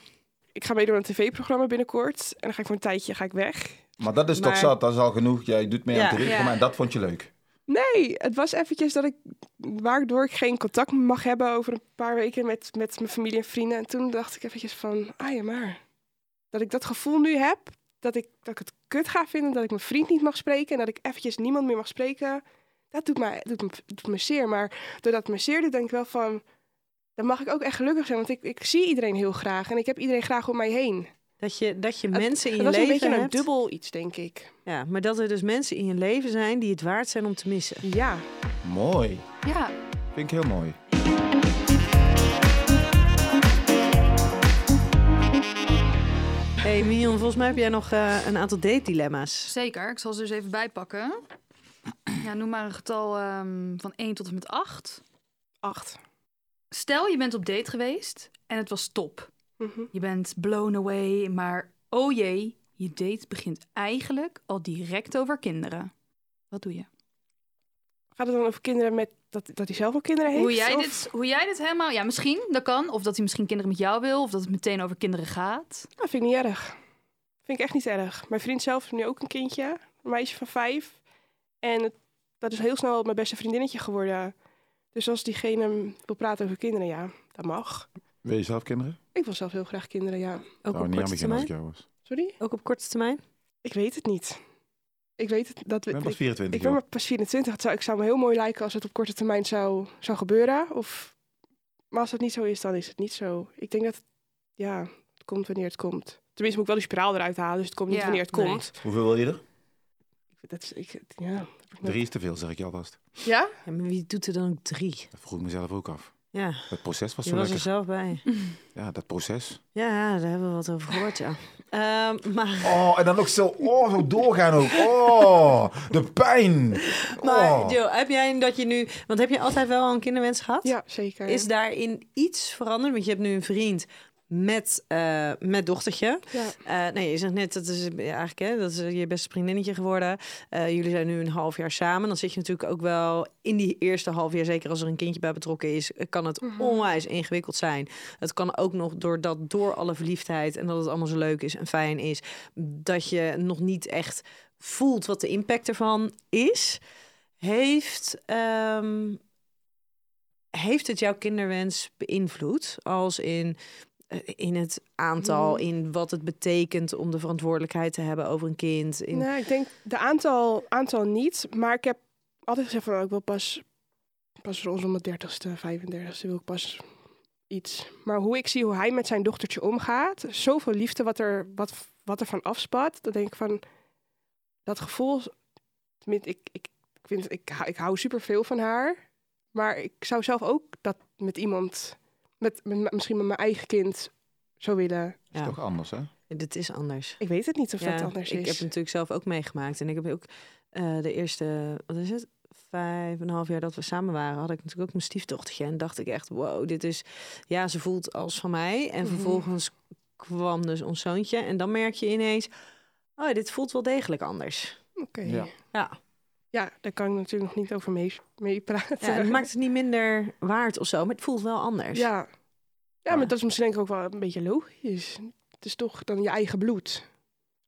Speaker 2: Ik ga meedoen aan een tv-programma binnenkort. En dan ga ik voor een tijdje ga ik weg.
Speaker 4: Maar dat is toch
Speaker 2: Maar-
Speaker 4: zat, dat is al genoeg. Jij doet mee
Speaker 3: Ja,
Speaker 4: aan het ritme,
Speaker 5: ja.
Speaker 4: maar dat vond je leuk.
Speaker 2: Nee, het was eventjes dat ik, waardoor ik geen contact mag hebben over een paar weken met, met mijn familie en vrienden. En toen dacht ik eventjes van, ah ja maar, dat ik dat gevoel nu heb, dat ik, dat ik het kut ga vinden, dat ik mijn vriend niet mag spreken en dat ik eventjes niemand meer mag spreken. Dat doet me, doet me, doet me zeer, maar doordat het me zeer doet, denk ik wel van, dan mag ik ook echt gelukkig zijn, want ik, ik zie iedereen heel graag en ik heb iedereen graag om mij heen.
Speaker 3: Dat je, dat je
Speaker 2: Het-
Speaker 3: mensen in
Speaker 2: Het
Speaker 3: je
Speaker 2: was een beetje
Speaker 3: leven
Speaker 2: een
Speaker 3: hebt.
Speaker 2: dubbel iets, denk ik.
Speaker 3: Ja, maar dat er dus mensen in je leven zijn die het waard zijn om te missen.
Speaker 2: Ja.
Speaker 4: Mooi.
Speaker 5: Ja.
Speaker 4: Vind ik heel mooi.
Speaker 3: hey, Mion, volgens mij heb jij nog eh, een aantal date dilemma's.
Speaker 5: Zeker, ik zal ze dus even bijpakken. Ja, noem maar een getal ehm, van 1 tot en met 8.
Speaker 2: Acht.
Speaker 5: Stel, je bent op date geweest en het was top.
Speaker 2: Mhm.
Speaker 5: Je bent blown away, maar oh jee, je date begint eigenlijk al direct over kinderen. Wat doe je?
Speaker 2: Gaat het dan over kinderen met dat, dat hij zelf ook kinderen heeft?
Speaker 5: Hoe jij,
Speaker 2: Of-
Speaker 5: dit, hoe jij dit helemaal... Ja, misschien, dat kan. Of dat hij misschien kinderen met jou wil. Of dat het meteen over kinderen gaat.
Speaker 2: Dat Nou, vind ik niet erg. Vind ik echt niet erg. Mijn vriend zelf heeft nu ook een kindje, een meisje van vijf. En het- dat is heel snel mijn beste vriendinnetje geworden. Dus als diegene wil praten over kinderen, ja, dat mag.
Speaker 4: Wil je zelf kinderen?
Speaker 2: Ik wil zelf heel graag kinderen, ja.
Speaker 3: Ook
Speaker 4: Zou
Speaker 3: op
Speaker 4: Nou, niet aan
Speaker 3: korte
Speaker 4: beginnen als ik
Speaker 3: termijn?
Speaker 4: jou was.
Speaker 2: Sorry?
Speaker 3: Ook op korte termijn?
Speaker 2: Ik weet het niet. Ik weet het. Dat,
Speaker 4: Ik ben pas
Speaker 2: ik,
Speaker 4: 24
Speaker 2: ik ben
Speaker 4: joh.
Speaker 2: maar pas 24. Het zou, ik zou me heel mooi lijken als het op korte termijn zou, zou gebeuren. Of, maar als dat niet zo is, dan is het niet zo. Ik denk dat het, ja, het komt wanneer het komt. Tenminste, moet ik wel die spiraal eruit halen, dus het komt niet
Speaker 5: Ja,
Speaker 2: wanneer het
Speaker 3: nee.
Speaker 2: komt.
Speaker 4: Hoeveel wil je er?
Speaker 2: Dat is, ik, ja.
Speaker 4: Drie is te veel, zeg ik je alvast.
Speaker 2: Ja?
Speaker 3: Ja, maar wie doet er dan ook drie?
Speaker 4: Dat vroeg ik mezelf ook af.
Speaker 3: Ja,
Speaker 4: Het proces was
Speaker 3: je
Speaker 4: zo
Speaker 3: was er
Speaker 4: lekker.
Speaker 3: zelf bij.
Speaker 4: Ja, dat proces.
Speaker 3: Ja, daar hebben we wat over gehoord, ja. Ehm, maar
Speaker 4: Oh, en dan ook zo, oh, zo doorgaan ook. Oh, de pijn.
Speaker 3: maar
Speaker 4: Oh.
Speaker 3: Jo, heb jij dat je nu... Want heb je altijd wel al een kinderwens gehad?
Speaker 2: Ja, zeker.
Speaker 3: Is daarin iets veranderd? Want je hebt nu een vriend met, eh, met dochtertje.
Speaker 2: Ja.
Speaker 3: Eh, nee, je zegt net, dat is eh, eigenlijk hè, dat is eh, je beste vriendinnetje geworden. Eh, jullie zijn nu een half jaar samen. Dan zit je natuurlijk ook wel in die eerste half jaar, zeker als er een kindje bij betrokken is, eh, kan het onwijs ingewikkeld zijn. Het kan ook nog doordat door alle verliefdheid en dat het allemaal zo leuk is en fijn is, dat je nog niet echt voelt wat de impact ervan is. Heeft, ehm, heeft het jouw kinderwens beïnvloed? Als in, eh, in het aantal, in wat het betekent om de verantwoordelijkheid te hebben over een kind. In...
Speaker 2: Nou, ik denk de aantal, aantal niet. Maar ik heb altijd gezegd van, oh, ik wil pas, pas rondom mijn dertigste, vijfendertigste wil ik pas iets. Maar hoe ik zie hoe hij met zijn dochtertje omgaat, zoveel liefde wat er wat, wat er van afspat, dan denk ik van dat gevoel. Tenminste, ik, ik, ik vind, ik, hou- ik hou super veel van haar, maar ik zou zelf ook dat met iemand, met, met misschien met mijn eigen kind, zou willen.
Speaker 4: Dat is
Speaker 3: Ja.
Speaker 4: toch anders, hè?
Speaker 3: Dat is anders.
Speaker 2: Ik weet het niet of dat
Speaker 3: Ja,
Speaker 2: anders
Speaker 3: ik
Speaker 2: is.
Speaker 3: heb het natuurlijk zelf ook meegemaakt. En ik heb ook eh, de eerste, wat is het? Vijf en een half jaar dat we samen waren, had ik natuurlijk ook mijn stiefdochtertje. En dacht ik echt, wow, dit is... Ja, ze voelt als van mij. En
Speaker 2: Mhm.
Speaker 3: vervolgens kwam dus ons zoontje. En dan merk je ineens, oh, dit voelt wel degelijk anders.
Speaker 2: Oké.
Speaker 4: Ja.
Speaker 3: Ja.
Speaker 2: Ja, daar kan ik natuurlijk nog niet over mee, mee praten.
Speaker 3: Ja, het maakt het niet minder waard of zo, maar het voelt wel anders.
Speaker 2: ja. ja,
Speaker 3: Ja.
Speaker 2: maar dat is misschien denk ik ook wel een beetje logisch. Het is toch dan je eigen bloed.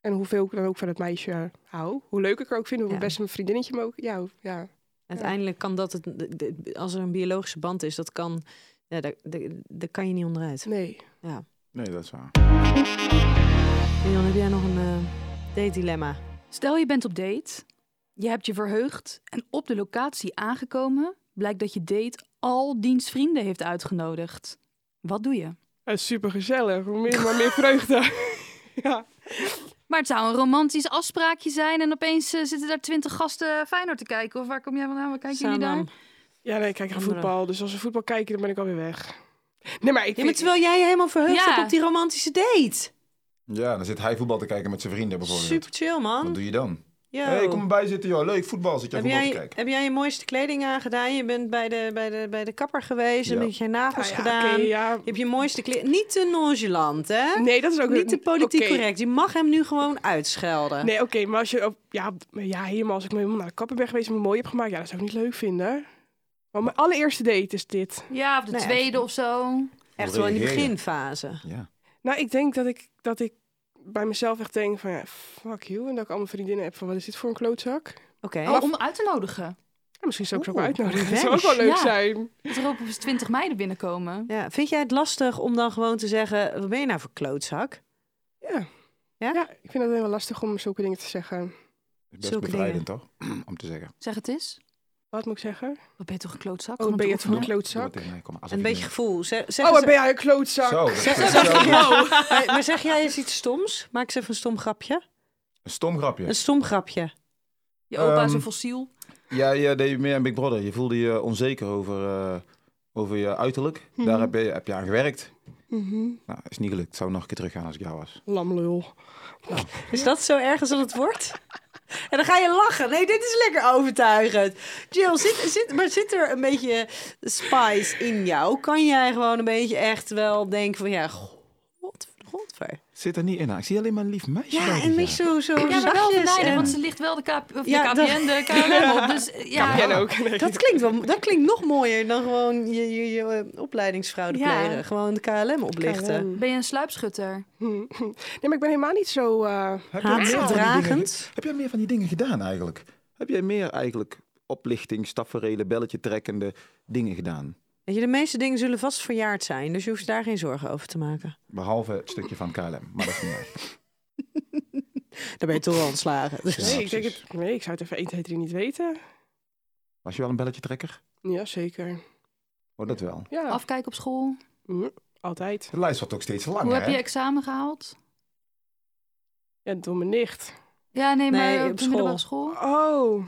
Speaker 2: En hoeveel ik dan ook van het meisje hou. Hoe leuk ik haar ook vind, hoe
Speaker 3: Ja.
Speaker 2: best mijn vriendinnetje me ook... Ja, hoe- ja.
Speaker 3: Uiteindelijk kan dat, het, de- de- als er een biologische band is, dat kan, ja, daar, daar- daar kan je niet onderuit.
Speaker 2: Nee.
Speaker 4: Nee, dat is waar.
Speaker 3: Leon, heb jij nog een eh date-dilemma?
Speaker 5: Stel je bent op date, je hebt je verheugd en op de locatie aangekomen blijkt dat je date al diens vrienden heeft uitgenodigd. Wat doe je?
Speaker 2: super gezellig. Hoe meer, maar meer vreugde. ja.
Speaker 5: Maar het zou een romantisch afspraakje zijn en opeens eh, zitten daar twintig gasten Feyenoord te kijken. Of waar kom jij vandaan? Waar kijken jullie
Speaker 3: Sanam.
Speaker 5: daar?
Speaker 2: ja, nee, ik kijk naar
Speaker 3: Andere.
Speaker 2: voetbal. Dus als we voetbal kijken, dan ben ik alweer weg. Nee, maar ik
Speaker 3: Ja,
Speaker 2: vind...
Speaker 3: maar terwijl jij je helemaal verheugd
Speaker 5: Ja.
Speaker 3: hebt op die romantische date.
Speaker 4: Ja, dan zit hij voetbal te kijken met zijn vrienden bijvoorbeeld.
Speaker 3: Super chill,
Speaker 4: Wat
Speaker 3: man.
Speaker 4: doe je dan?
Speaker 3: Yo.
Speaker 4: Hé, hey, kom erbij zitten, joh. Leuk voetbal. Zit jij
Speaker 3: heb,
Speaker 4: voetbal
Speaker 3: jij,
Speaker 4: te kijken?
Speaker 3: heb jij je mooiste kleding aangedaan? Je bent bij de, bij de, bij de kapper geweest. Je
Speaker 4: Ja.
Speaker 3: hebt je nagels
Speaker 2: Ah, ja,
Speaker 3: gedaan.
Speaker 2: oké,
Speaker 3: Je
Speaker 2: ja.
Speaker 3: hebt je mooiste kleding. Niet te nonchalant, hè?
Speaker 2: Nee, dat is ook...
Speaker 3: Niet te politiek
Speaker 2: oké.
Speaker 3: correct. Je mag hem nu gewoon uitschelden.
Speaker 2: Nee, oké, maar als je op, ja, op- ja, helemaal als ik me helemaal naar de kapper ben geweest en me mooi heb gemaakt, ja, dat zou ik niet leuk vinden. Maar mijn allereerste date is dit.
Speaker 5: Ja, of de
Speaker 3: Nee,
Speaker 5: tweede of zo.
Speaker 3: Echt
Speaker 4: Hoe
Speaker 3: wel in die
Speaker 4: reageer je?
Speaker 3: beginfase.
Speaker 4: Ja.
Speaker 2: Nou, ik denk dat ik, dat ik bij mezelf echt denk van, ja, fuck you. En dat ik allemaal vriendinnen heb van, wat is dit voor een klootzak?
Speaker 3: Oké.
Speaker 5: Oh, om uit te nodigen.
Speaker 2: Ja, misschien zou ik ze ook
Speaker 3: Oeh,
Speaker 2: wel uitnodigen. Dat
Speaker 3: revenge.
Speaker 2: zou ook wel leuk
Speaker 5: Ja.
Speaker 2: zijn.
Speaker 5: Dat er op 20 meiden binnenkomen.
Speaker 3: Ja, vind jij het lastig om dan gewoon te zeggen... wat ben je nou voor klootzak?
Speaker 2: Ja.
Speaker 3: Ja?
Speaker 2: ik vind dat heel lastig om zulke dingen te zeggen.
Speaker 4: Is best
Speaker 3: Zulke
Speaker 4: bevrijdend, toch? Om te zeggen.
Speaker 5: Zeg het eens.
Speaker 2: Wat moet ik zeggen?
Speaker 5: Wat ben je toch een klootzak?
Speaker 2: Oh,
Speaker 5: Om
Speaker 2: ben je
Speaker 5: te
Speaker 2: het voor een
Speaker 5: oefenen.
Speaker 4: Doe wat
Speaker 2: klootzak?
Speaker 4: tegen mij, kom maar, als
Speaker 3: Een beetje gevoel. Zeg, zeg
Speaker 2: Oh,
Speaker 3: eens-
Speaker 2: wat ben jij een klootzak?
Speaker 4: Zo, dat is
Speaker 3: Zeg-
Speaker 4: best
Speaker 3: zeg-
Speaker 4: wel-
Speaker 3: maar, maar zeg jij eens iets stoms? Maak eens even een stom grapje.
Speaker 4: Een stom grapje.
Speaker 3: Een stom grapje.
Speaker 5: Je opa is
Speaker 4: Ehm,
Speaker 5: een fossiel.
Speaker 4: Ja, ja, deed meer aan Big Brother. Je voelde je onzeker over, eh, over je uiterlijk.
Speaker 2: Mhm.
Speaker 4: Daar heb je, heb je aan gewerkt.
Speaker 2: Mhm.
Speaker 4: Nou, is niet gelukt. Zou nog een keer teruggaan als ik jou was.
Speaker 2: Lamlul.
Speaker 3: Is dat zo erg als dat het wordt? En dan ga je lachen. Nee, dit is lekker overtuigend. Jill, zit, zit, maar zit er een beetje spice in jou? Kan jij gewoon een beetje echt wel denken van ja, god, godver.
Speaker 4: Zit er niet in. haar. Ik zie alleen maar een lief meisje.
Speaker 3: Ja,
Speaker 4: daar
Speaker 3: en met
Speaker 4: liggen.
Speaker 3: zo, zo
Speaker 5: Ja, maar wel
Speaker 3: zachtjes
Speaker 5: vermijden,
Speaker 3: en-
Speaker 5: want ze ligt wel de, KP, of
Speaker 3: Ja,
Speaker 5: de
Speaker 3: dat-
Speaker 5: KPN, de KLM op. Dus eh, ja,
Speaker 2: Jij ook. Nee.
Speaker 3: Dat klinkt, wel, dat klinkt nog mooier dan gewoon je, je, je eh, opleidingsfraude
Speaker 5: Ja.
Speaker 3: plegen. Gewoon de KLM oplichten.
Speaker 5: ben je een sluipschutter.
Speaker 2: Mhm. Nee, maar ik ben helemaal niet zo... eh,
Speaker 4: Heb jij meer van die dingen
Speaker 3: Haatdragend.
Speaker 4: ge- Heb jij meer van die dingen gedaan eigenlijk? Heb jij meer eigenlijk oplichting, stafferelen, belletje trekkende dingen gedaan?
Speaker 3: Weet je, de meeste dingen zullen vast verjaard zijn, dus je hoeft je daar geen zorgen over te maken.
Speaker 4: Behalve het stukje van KLM. Maar dat is niet waar.
Speaker 3: Daar ben je toch wel ontslagen. Dus.
Speaker 2: nee, ik denk
Speaker 4: precies.
Speaker 2: het, nee, ik zou het even 1, 2, 3 niet weten.
Speaker 4: Was je wel een belletje trekker?
Speaker 2: Ja, zeker.
Speaker 4: Oh, dat wel.
Speaker 2: Ja,
Speaker 5: Afkijken op school.
Speaker 2: Mhm. altijd.
Speaker 4: De lijst wordt ook steeds langer,
Speaker 5: Hoe heb
Speaker 4: hè?
Speaker 5: je examen gehaald?
Speaker 2: Ja, domme nicht.
Speaker 5: Ja, nee, maar
Speaker 3: Nee,
Speaker 5: op,
Speaker 3: op
Speaker 5: de middelbare school.
Speaker 2: Oh.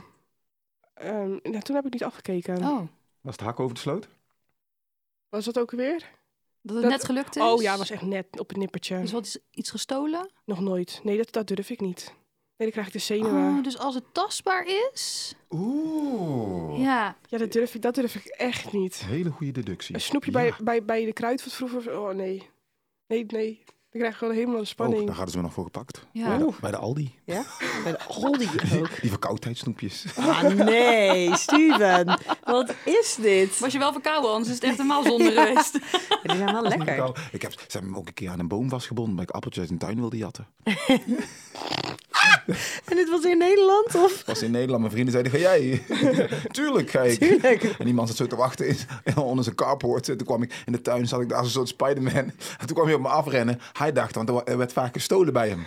Speaker 2: Ehm, nou, toen heb ik niet afgekeken.
Speaker 5: Oh,
Speaker 4: Was het hak over de sloot?
Speaker 2: Was dat ook weer?
Speaker 5: dat het
Speaker 2: Dat-
Speaker 5: net gelukt is.
Speaker 2: Oh ja, was echt net op het nippertje.
Speaker 5: Dus wat is iets gestolen?
Speaker 2: Nog nooit. Nee, dat, dat durf ik niet. Nee, dan krijg ik de zenuwen.
Speaker 5: Oh, dus als het tastbaar is.
Speaker 4: Oeh.
Speaker 5: Ja,
Speaker 2: Ja, dat durf, ik, dat durf ik echt niet.
Speaker 4: Hele goede deductie.
Speaker 2: Een snoepje bij, bij, bij de kruidvat vroeger. Oh nee. Nee, nee. Dan krijg ik gewoon helemaal de
Speaker 4: Oh,
Speaker 2: spanning.
Speaker 4: daar hadden ze me nog voor gepakt.
Speaker 5: Ja.
Speaker 4: Bij, de, bij de Aldi.
Speaker 3: Ja? Bij de Aldi ook.
Speaker 4: Die verkoudheidssnoepjes.
Speaker 3: Ah, nee, Steven. Wat is dit?
Speaker 5: was je wel verkouden, anders is het echt helemaal zonde geweest.
Speaker 3: Die zijn wel
Speaker 4: Oh
Speaker 3: lekker.
Speaker 4: Ik heb, ze hebben me ook een keer aan een boom vastgebonden, omdat ik appeltjes uit een tuin wilde jatten.
Speaker 3: En dit was in Nederland, of?
Speaker 4: was in Nederland. Mijn vrienden zeiden, ga jij? Tuurlijk ga ik.
Speaker 3: Tuurlijk.
Speaker 4: En iemand zat zo te wachten is, onder zijn carport. En toen kwam ik in de tuin, zat ik daar als een soort Spiderman. En toen kwam hij op me afrennen. Hij dacht, want er wa- er werd vaak gestolen bij hem.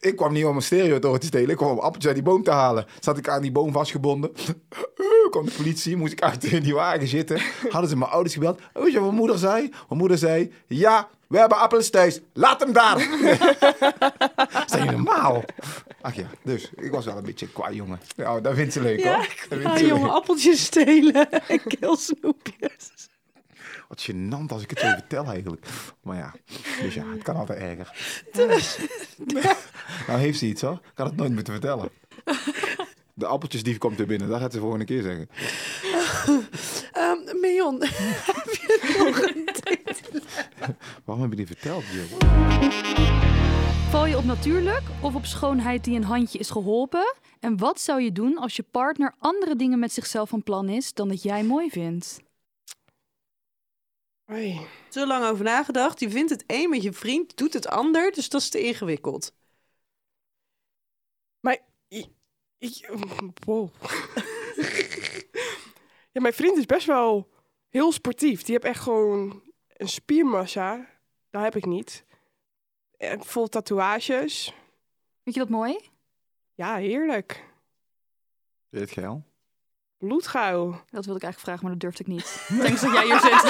Speaker 4: Ik kwam niet om een stereo door te stelen. Ik kwam om appeltjes uit die boom te halen. Zat ik aan die boom vastgebonden. Eh, kwam de politie, moest ik uit in die wagen zitten. Hadden ze mijn ouders gebeld. Oh, Weet je wat mijn moeder zei? Mijn moeder zei, ja, we hebben appels thuis. Laat hem daar. Zijn jullie normaal? Ach ja, dus ik was wel een beetje qua jongen. Nou, dat vindt ze leuk
Speaker 3: Ja,
Speaker 4: hoor. Dat vindt
Speaker 3: Ah,
Speaker 4: ze
Speaker 3: jongen,
Speaker 4: leuk.
Speaker 3: appeltjes stelen en keelsnoepjes.
Speaker 4: Wat gênant als ik het zo vertel eigenlijk. Maar ja, dus ja, het kan altijd erger. Nou heeft ze iets hoor. Ik had het nooit moeten vertellen. De appeltjesdief komt er binnen, dat gaat ze de volgende keer zeggen.
Speaker 3: Ehm Mion,
Speaker 4: Waarom heb je die verteld, Jill?
Speaker 5: Val je op natuurlijk of op schoonheid die een handje is geholpen? En wat zou je doen als je partner andere dingen met zichzelf van plan is dan dat jij mooi vindt?
Speaker 2: Ai.
Speaker 3: zo lang over nagedacht. Je vindt het een met je vriend, doet het ander, dus dat is te ingewikkeld.
Speaker 2: Ik, wow. Ja, mijn vriend is best wel heel sportief. Die heeft echt gewoon een spiermassa. Dat heb ik niet. En vol tatoeages.
Speaker 5: Vind je dat mooi?
Speaker 2: Ja, heerlijk.
Speaker 4: Dit geil.
Speaker 2: Bloedgauw.
Speaker 5: Dat wilde ik eigenlijk vragen, maar dat durfde ik niet. Thanks dat jij hier zit.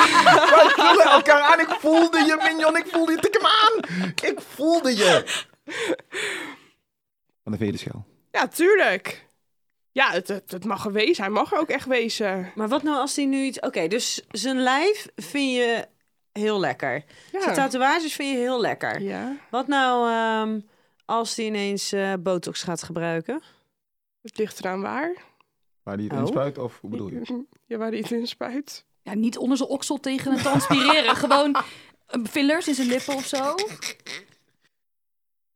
Speaker 4: Wij vullen elkaar aan. Ik voelde je, Mignon. Ik voelde je. Tik hem aan. Ik voelde je. Van de vedenschel.
Speaker 2: Ja, tuurlijk. Ja, het, het, het mag er wezen. Hij mag er ook echt wezen.
Speaker 3: Maar wat nou als hij nu iets... Oké, dus zijn lijf vind je heel lekker. Zijn
Speaker 2: Ja.
Speaker 3: tatoeages vind je heel lekker.
Speaker 2: ja.
Speaker 3: Wat nou ehm, als hij ineens eh, botox gaat gebruiken?
Speaker 2: Het ligt eraan waar.
Speaker 4: Waar die het
Speaker 3: Oh.
Speaker 4: inspuit of hoe bedoel je?
Speaker 2: Ja, waar hij het in spuit.
Speaker 5: Ja, niet onder zijn oksel tegen het transpireren. Gewoon eh, fillers in zijn lippen of zo.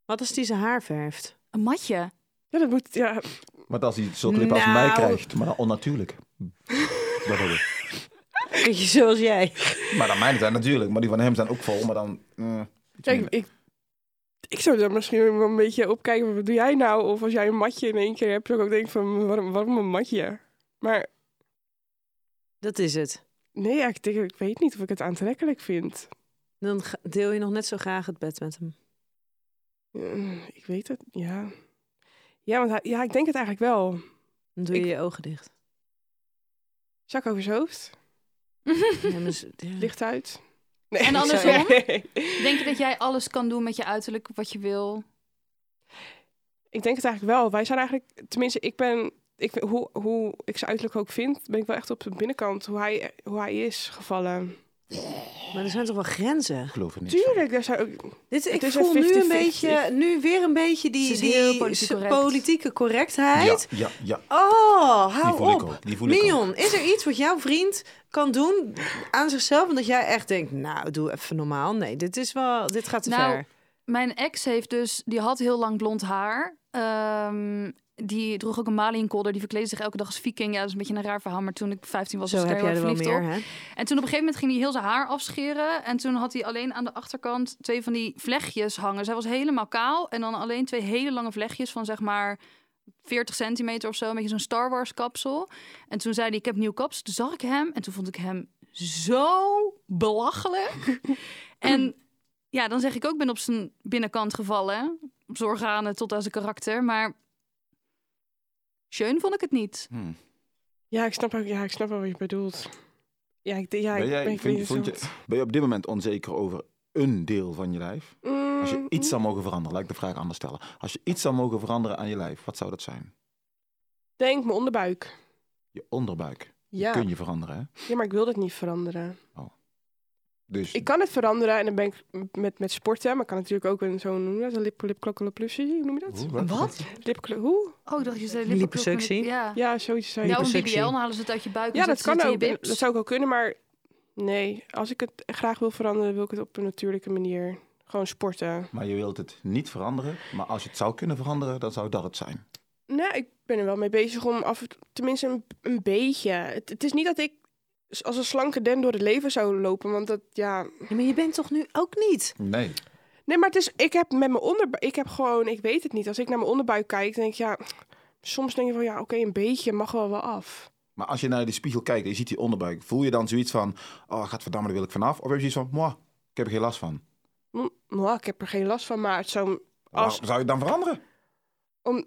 Speaker 3: Wat als hij zijn haar verft?
Speaker 5: Een matje.
Speaker 2: Ja, dat moet... Ja,
Speaker 4: Want als hij zulke lippen als
Speaker 3: Nou.
Speaker 4: mij krijgt, maar dan onnatuurlijk. Bijvoorbeeld.
Speaker 3: Beetje zoals jij.
Speaker 4: Maar dan mijne zijn natuurlijk, maar die van hem zijn ook vol, maar dan... eh, iets
Speaker 2: Kijk,
Speaker 4: minder.
Speaker 2: ik, ik zou daar misschien wel een beetje op kijken. van, Wat doe jij nou? Of als jij een matje in één keer hebt, zou ik ook denken van, waarom, waarom een matje? Maar
Speaker 3: Dat is het.
Speaker 2: nee, ja, ik, denk, ik weet niet of ik het aantrekkelijk vind.
Speaker 3: Dan ga- deel je nog net zo graag het bed met hem.
Speaker 2: Eh, Ik weet het, ja. Ja, want hij- ja, ik denk het eigenlijk wel.
Speaker 3: Dan doe je
Speaker 2: Ik-
Speaker 3: je ogen dicht.
Speaker 2: Zak over zijn hoofd,
Speaker 3: Ja, maar z- ja.
Speaker 2: licht uit. Nee,
Speaker 5: En
Speaker 2: ik zou-
Speaker 5: andersom?
Speaker 2: Nee.
Speaker 5: Denk je dat jij alles kan doen met je uiterlijk wat je wil?
Speaker 2: Ik denk het eigenlijk wel. Wij zijn eigenlijk, tenminste, ik ben, ik, vind- hoe, hoe ik zijn uiterlijk ook vind, ben ik wel echt op de binnenkant, hoe hij, hoe hij is gevallen.
Speaker 3: Maar er zijn toch wel grenzen?
Speaker 4: Ik geloof er niet.
Speaker 2: Tuurlijk, daar zou ook,
Speaker 3: Dit, ik
Speaker 2: Het is een
Speaker 3: voel nu een
Speaker 2: 50-50.
Speaker 3: beetje, nu weer een beetje die,
Speaker 5: Ze is
Speaker 3: die
Speaker 5: heel politiek correct.
Speaker 3: politieke
Speaker 4: Ja,
Speaker 3: correctheid.
Speaker 4: ja, ja.
Speaker 3: Oh,
Speaker 4: Die
Speaker 3: hou
Speaker 4: voel
Speaker 3: op.
Speaker 4: ik ook. Die voel ik ook.
Speaker 3: Mion, is er iets wat jouw vriend kan doen aan zichzelf? Omdat jij echt denkt, nou, doe even normaal. Nee, dit, is wel, dit gaat te
Speaker 5: Nou,
Speaker 3: ver.
Speaker 5: Mijn ex heeft dus, die had heel lang blond haar. Ehm, die droeg ook een Maliënkolder. Die verkleedde zich elke dag als viking. Ja, dat is een beetje een raar verhaal. Maar toen ik 15 was,
Speaker 3: Zo
Speaker 5: was ik
Speaker 3: heb
Speaker 5: er
Speaker 3: jij
Speaker 5: heel
Speaker 3: er wel
Speaker 5: erg verliefd
Speaker 3: meer,
Speaker 5: op.
Speaker 3: hè?
Speaker 5: En toen op een gegeven moment ging hij heel zijn haar afscheren. En toen had hij alleen aan de achterkant twee van die vlechtjes hangen. Zij was helemaal kaal. En dan alleen twee hele lange vlechtjes van zeg maar 40 centimeter of zo. Een beetje zo'n Star Wars kapsel. En toen zei hij, ik heb nieuw kapsel. Toen zag ik hem en toen vond ik hem zo belachelijk. en ja, dan zeg ik ook, ik ben op zijn binnenkant gevallen. Op zijn organen tot aan zijn karakter. Maar schön vond ik het niet.
Speaker 4: Hmm.
Speaker 2: Ja, ik snap, ook- ja, ik snap wel wat je bedoelt. Ja, ik, ja,
Speaker 4: Ben
Speaker 2: ik,
Speaker 4: jij-
Speaker 2: ben- ik
Speaker 4: vind-
Speaker 2: weet
Speaker 4: vond
Speaker 2: het
Speaker 4: je- Ben je op dit moment onzeker over een deel van je lijf?
Speaker 2: wel.
Speaker 4: Als je
Speaker 2: Mm,
Speaker 4: iets zou mogen veranderen, laat ik de vraag anders stellen. Als je iets zou mogen veranderen aan je lijf, wat zou dat zijn?
Speaker 2: Denk mijn onderbuik.
Speaker 4: Je onderbuik. Die
Speaker 2: Ja.
Speaker 4: kun je veranderen, hè?
Speaker 2: ja, maar ik wil dat niet veranderen.
Speaker 4: Dus
Speaker 2: Ik kan het veranderen en dan ben ik met, met sporten. Maar ik kan natuurlijk ook een zo'n hoe noem je dat? Een lip, lipklokkeloplusje, hoe noem je dat?
Speaker 4: Hoe, wat?
Speaker 2: Lipklo- hoe?
Speaker 5: Oh, ik dacht je zei
Speaker 3: Liposuctie.
Speaker 5: lippenklok met- Ja.
Speaker 2: Ja, zoiets zou je-
Speaker 5: Ja, of Nou, een BBL,
Speaker 3: Liposuctie.
Speaker 5: dan halen ze het uit je buik. en
Speaker 2: Ja, dat
Speaker 5: zetten
Speaker 2: kan
Speaker 5: ze het
Speaker 2: ook.
Speaker 5: in je bips.
Speaker 2: Dat zou ik wel kunnen, maar nee. Als ik het graag wil veranderen, wil ik het op een natuurlijke manier. Gewoon sporten.
Speaker 4: Maar je wilt het niet veranderen. Maar als je het zou kunnen veranderen, dan zou dat het zijn.
Speaker 2: Nou, ik ben er wel mee bezig om af en toe, tenminste een, een beetje. Het, het is niet dat ik s- als een slanke den door het leven zou lopen, want dat ja.
Speaker 3: Ja, maar je bent toch nu ook niet?
Speaker 4: Nee.
Speaker 2: Nee, maar het is, ik heb met mijn onderbuik, ik heb gewoon, ik weet het niet. Als ik naar mijn onderbuik kijk, denk ik ja, soms denk je van ja, oké, een beetje mag wel wel af.
Speaker 4: Maar als je naar die spiegel kijkt en je ziet die onderbuik, voel je dan zoiets van: oh, gadverdamme, daar wil ik vanaf? Of heb je zoiets van: moi, ik heb er geen last van?
Speaker 2: Mm, nou, ik heb er geen last van, maar het zou, Als-
Speaker 4: Zou je het dan veranderen?
Speaker 2: om,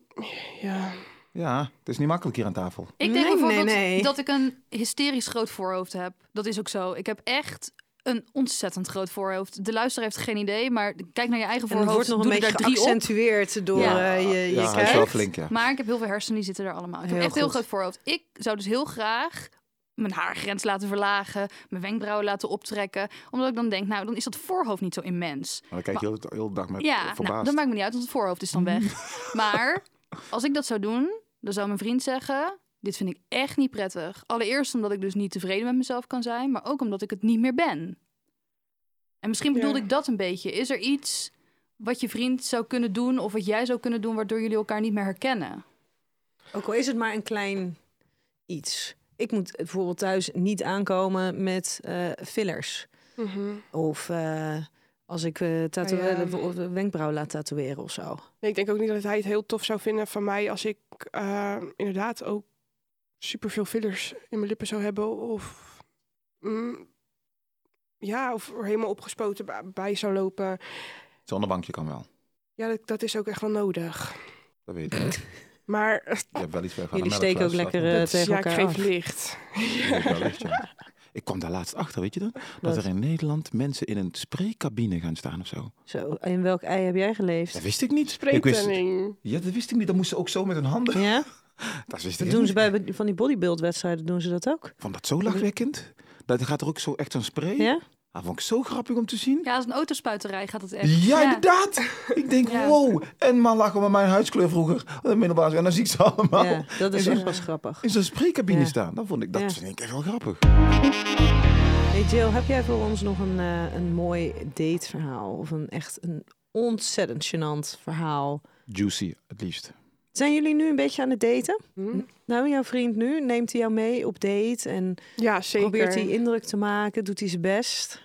Speaker 2: ja.
Speaker 4: Ja, het is niet makkelijk hier aan tafel.
Speaker 5: Ik denk
Speaker 3: Nee, nee,
Speaker 5: bijvoorbeeld
Speaker 3: nee.
Speaker 5: dat ik een hysterisch groot voorhoofd heb. Dat is ook zo. Ik heb echt een ontzettend groot voorhoofd. De luisteraar heeft geen idee, maar kijk naar je eigen
Speaker 3: En het
Speaker 5: voorhoofd.
Speaker 3: wordt nog een
Speaker 5: doe er
Speaker 3: beetje
Speaker 5: daar drie op.
Speaker 3: geaccentueerd door
Speaker 5: Ja.
Speaker 3: eh, je, je
Speaker 4: ja, hij is
Speaker 3: kijkt.
Speaker 4: wel flink, ja.
Speaker 5: Maar ik heb heel veel hersenen, die zitten er allemaal. Ik
Speaker 3: Heel
Speaker 5: heb echt heel
Speaker 3: goed.
Speaker 5: groot voorhoofd. Ik zou dus heel graag mijn haargrens laten verlagen, mijn wenkbrauwen laten optrekken. Omdat ik dan denk, nou, dan is dat voorhoofd niet zo immens.
Speaker 4: Maar dan kijk je heel, heel de dag met
Speaker 5: Ja, nou,
Speaker 4: eh, verbaasd.
Speaker 5: dat maakt me niet uit, want het voorhoofd is dan weg. maar als ik dat zou doen, dan zou mijn vriend zeggen... dit vind ik echt niet prettig. Allereerst omdat ik dus niet tevreden met mezelf kan zijn... maar ook omdat ik het niet meer ben. En misschien bedoelde
Speaker 2: Ja.
Speaker 5: ik dat een beetje. Is er iets wat je vriend zou kunnen doen... of wat jij zou kunnen doen... waardoor jullie elkaar niet meer herkennen?
Speaker 3: Ook al is het maar een klein iets. Ik moet bijvoorbeeld thuis niet aankomen met eh, fillers.
Speaker 2: Mhm.
Speaker 3: Of eh, als ik eh tatoe-
Speaker 2: Oh Ja.
Speaker 3: eh, of de wenkbrauw laat tatoeëren of zo.
Speaker 2: Nee, ik denk ook niet dat hij het heel tof zou vinden van mij als ik eh, ehm, inderdaad ook super veel fillers in mijn lippen zou hebben. Of, mm, ja, of er helemaal opgespoten ba- bij zou lopen.
Speaker 4: Zonder bankje kan wel.
Speaker 2: Ja, dat, dat is ook echt wel nodig.
Speaker 4: Dat weet ik. Je
Speaker 2: Maar
Speaker 4: hebt wel iets weg van
Speaker 3: Jullie
Speaker 4: de
Speaker 3: steken ook
Speaker 4: melkfles,
Speaker 3: lekker eh,
Speaker 2: dat is-
Speaker 3: tegen
Speaker 2: ja, ik
Speaker 3: elkaar
Speaker 2: geef
Speaker 3: af.
Speaker 2: licht.
Speaker 4: dat weet ik wel echt, ja. Ik kwam daar laatst achter, weet je dat? Dat
Speaker 3: Wat?
Speaker 4: er in Nederland mensen in een spreekcabine gaan staan of zo.
Speaker 3: Zo, in welk ei heb jij
Speaker 4: Dat
Speaker 3: geleefd?
Speaker 4: wist ik niet. Ik wist,
Speaker 2: Spreekpenning.
Speaker 4: ja, dat wist ik niet. Dat moesten ze ook zo met hun handen.
Speaker 3: Ja,
Speaker 4: Dat wist ik
Speaker 3: dat doen
Speaker 4: niet.
Speaker 3: ze bij van die bodybuild-wedstrijden doen ze dat ook.
Speaker 4: Vond dat zo lachwekkend? Dat gaat er ook zo echt zo'n spray.
Speaker 3: Ja?
Speaker 4: Dat vond ik zo grappig om te zien.
Speaker 5: Ja, als een autospuiterij gaat het echt.
Speaker 4: Ja, inderdaad. Ik denk,
Speaker 5: Ja.
Speaker 4: wow. En man lachen met mijn huidskleur vroeger. op de middelbare school. En dan zie ik ze allemaal
Speaker 3: Ja, dat is
Speaker 4: In
Speaker 3: echt
Speaker 4: zo'n-
Speaker 3: wel eens grappig.
Speaker 4: in zo'n spreekcabine
Speaker 3: Ja.
Speaker 4: staan. Dat vond ik, dat
Speaker 3: Ja.
Speaker 4: vind ik echt wel grappig.
Speaker 3: Hey Jill, heb jij voor ons nog een, eh, een mooi dateverhaal? Of een echt een ontzettend gênant verhaal?
Speaker 4: Juicy, het liefst.
Speaker 3: Zijn jullie nu een beetje aan het daten?
Speaker 2: Hm?
Speaker 3: Nou, jouw vriend nu, neemt hij jou mee op date en
Speaker 2: Ja, zeker.
Speaker 3: probeert hij indruk te maken? Doet hij zijn best?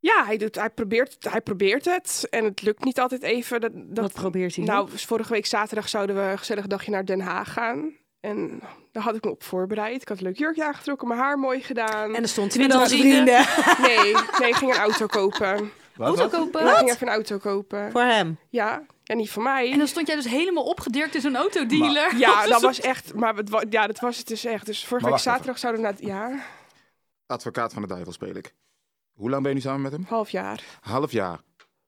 Speaker 2: Ja, hij, doet, hij, probeert, hij probeert het. En het lukt niet altijd even. Dat, dat,
Speaker 3: Wat probeert hij
Speaker 2: Nou, vorige week zaterdag zouden we een gezellig dagje naar Den Haag gaan. En daar had ik me op voorbereid. Ik had een leuk jurkje aangetrokken, mijn haar mooi gedaan.
Speaker 3: En dan stond hij met
Speaker 5: Twintig
Speaker 3: al zijn vrienden.
Speaker 2: Nee, nee, ik ging een auto kopen.
Speaker 5: Auto kopen.
Speaker 2: Ik ging even een auto kopen.
Speaker 3: Voor hem.
Speaker 2: Ja, ja, niet van
Speaker 5: En
Speaker 2: mij.
Speaker 5: dan stond jij dus helemaal opgedirkt in zo'n autodealer.
Speaker 2: Ja, dat was echt. Maar het wa- ja, dat was het dus echt. Dus vorige
Speaker 4: Maar
Speaker 2: week
Speaker 4: wacht
Speaker 2: zaterdag zouden we na ja,
Speaker 4: Advocaat van de duivel speel ik. Hoe lang ben je nu samen met hem?
Speaker 2: half jaar.
Speaker 4: Half jaar.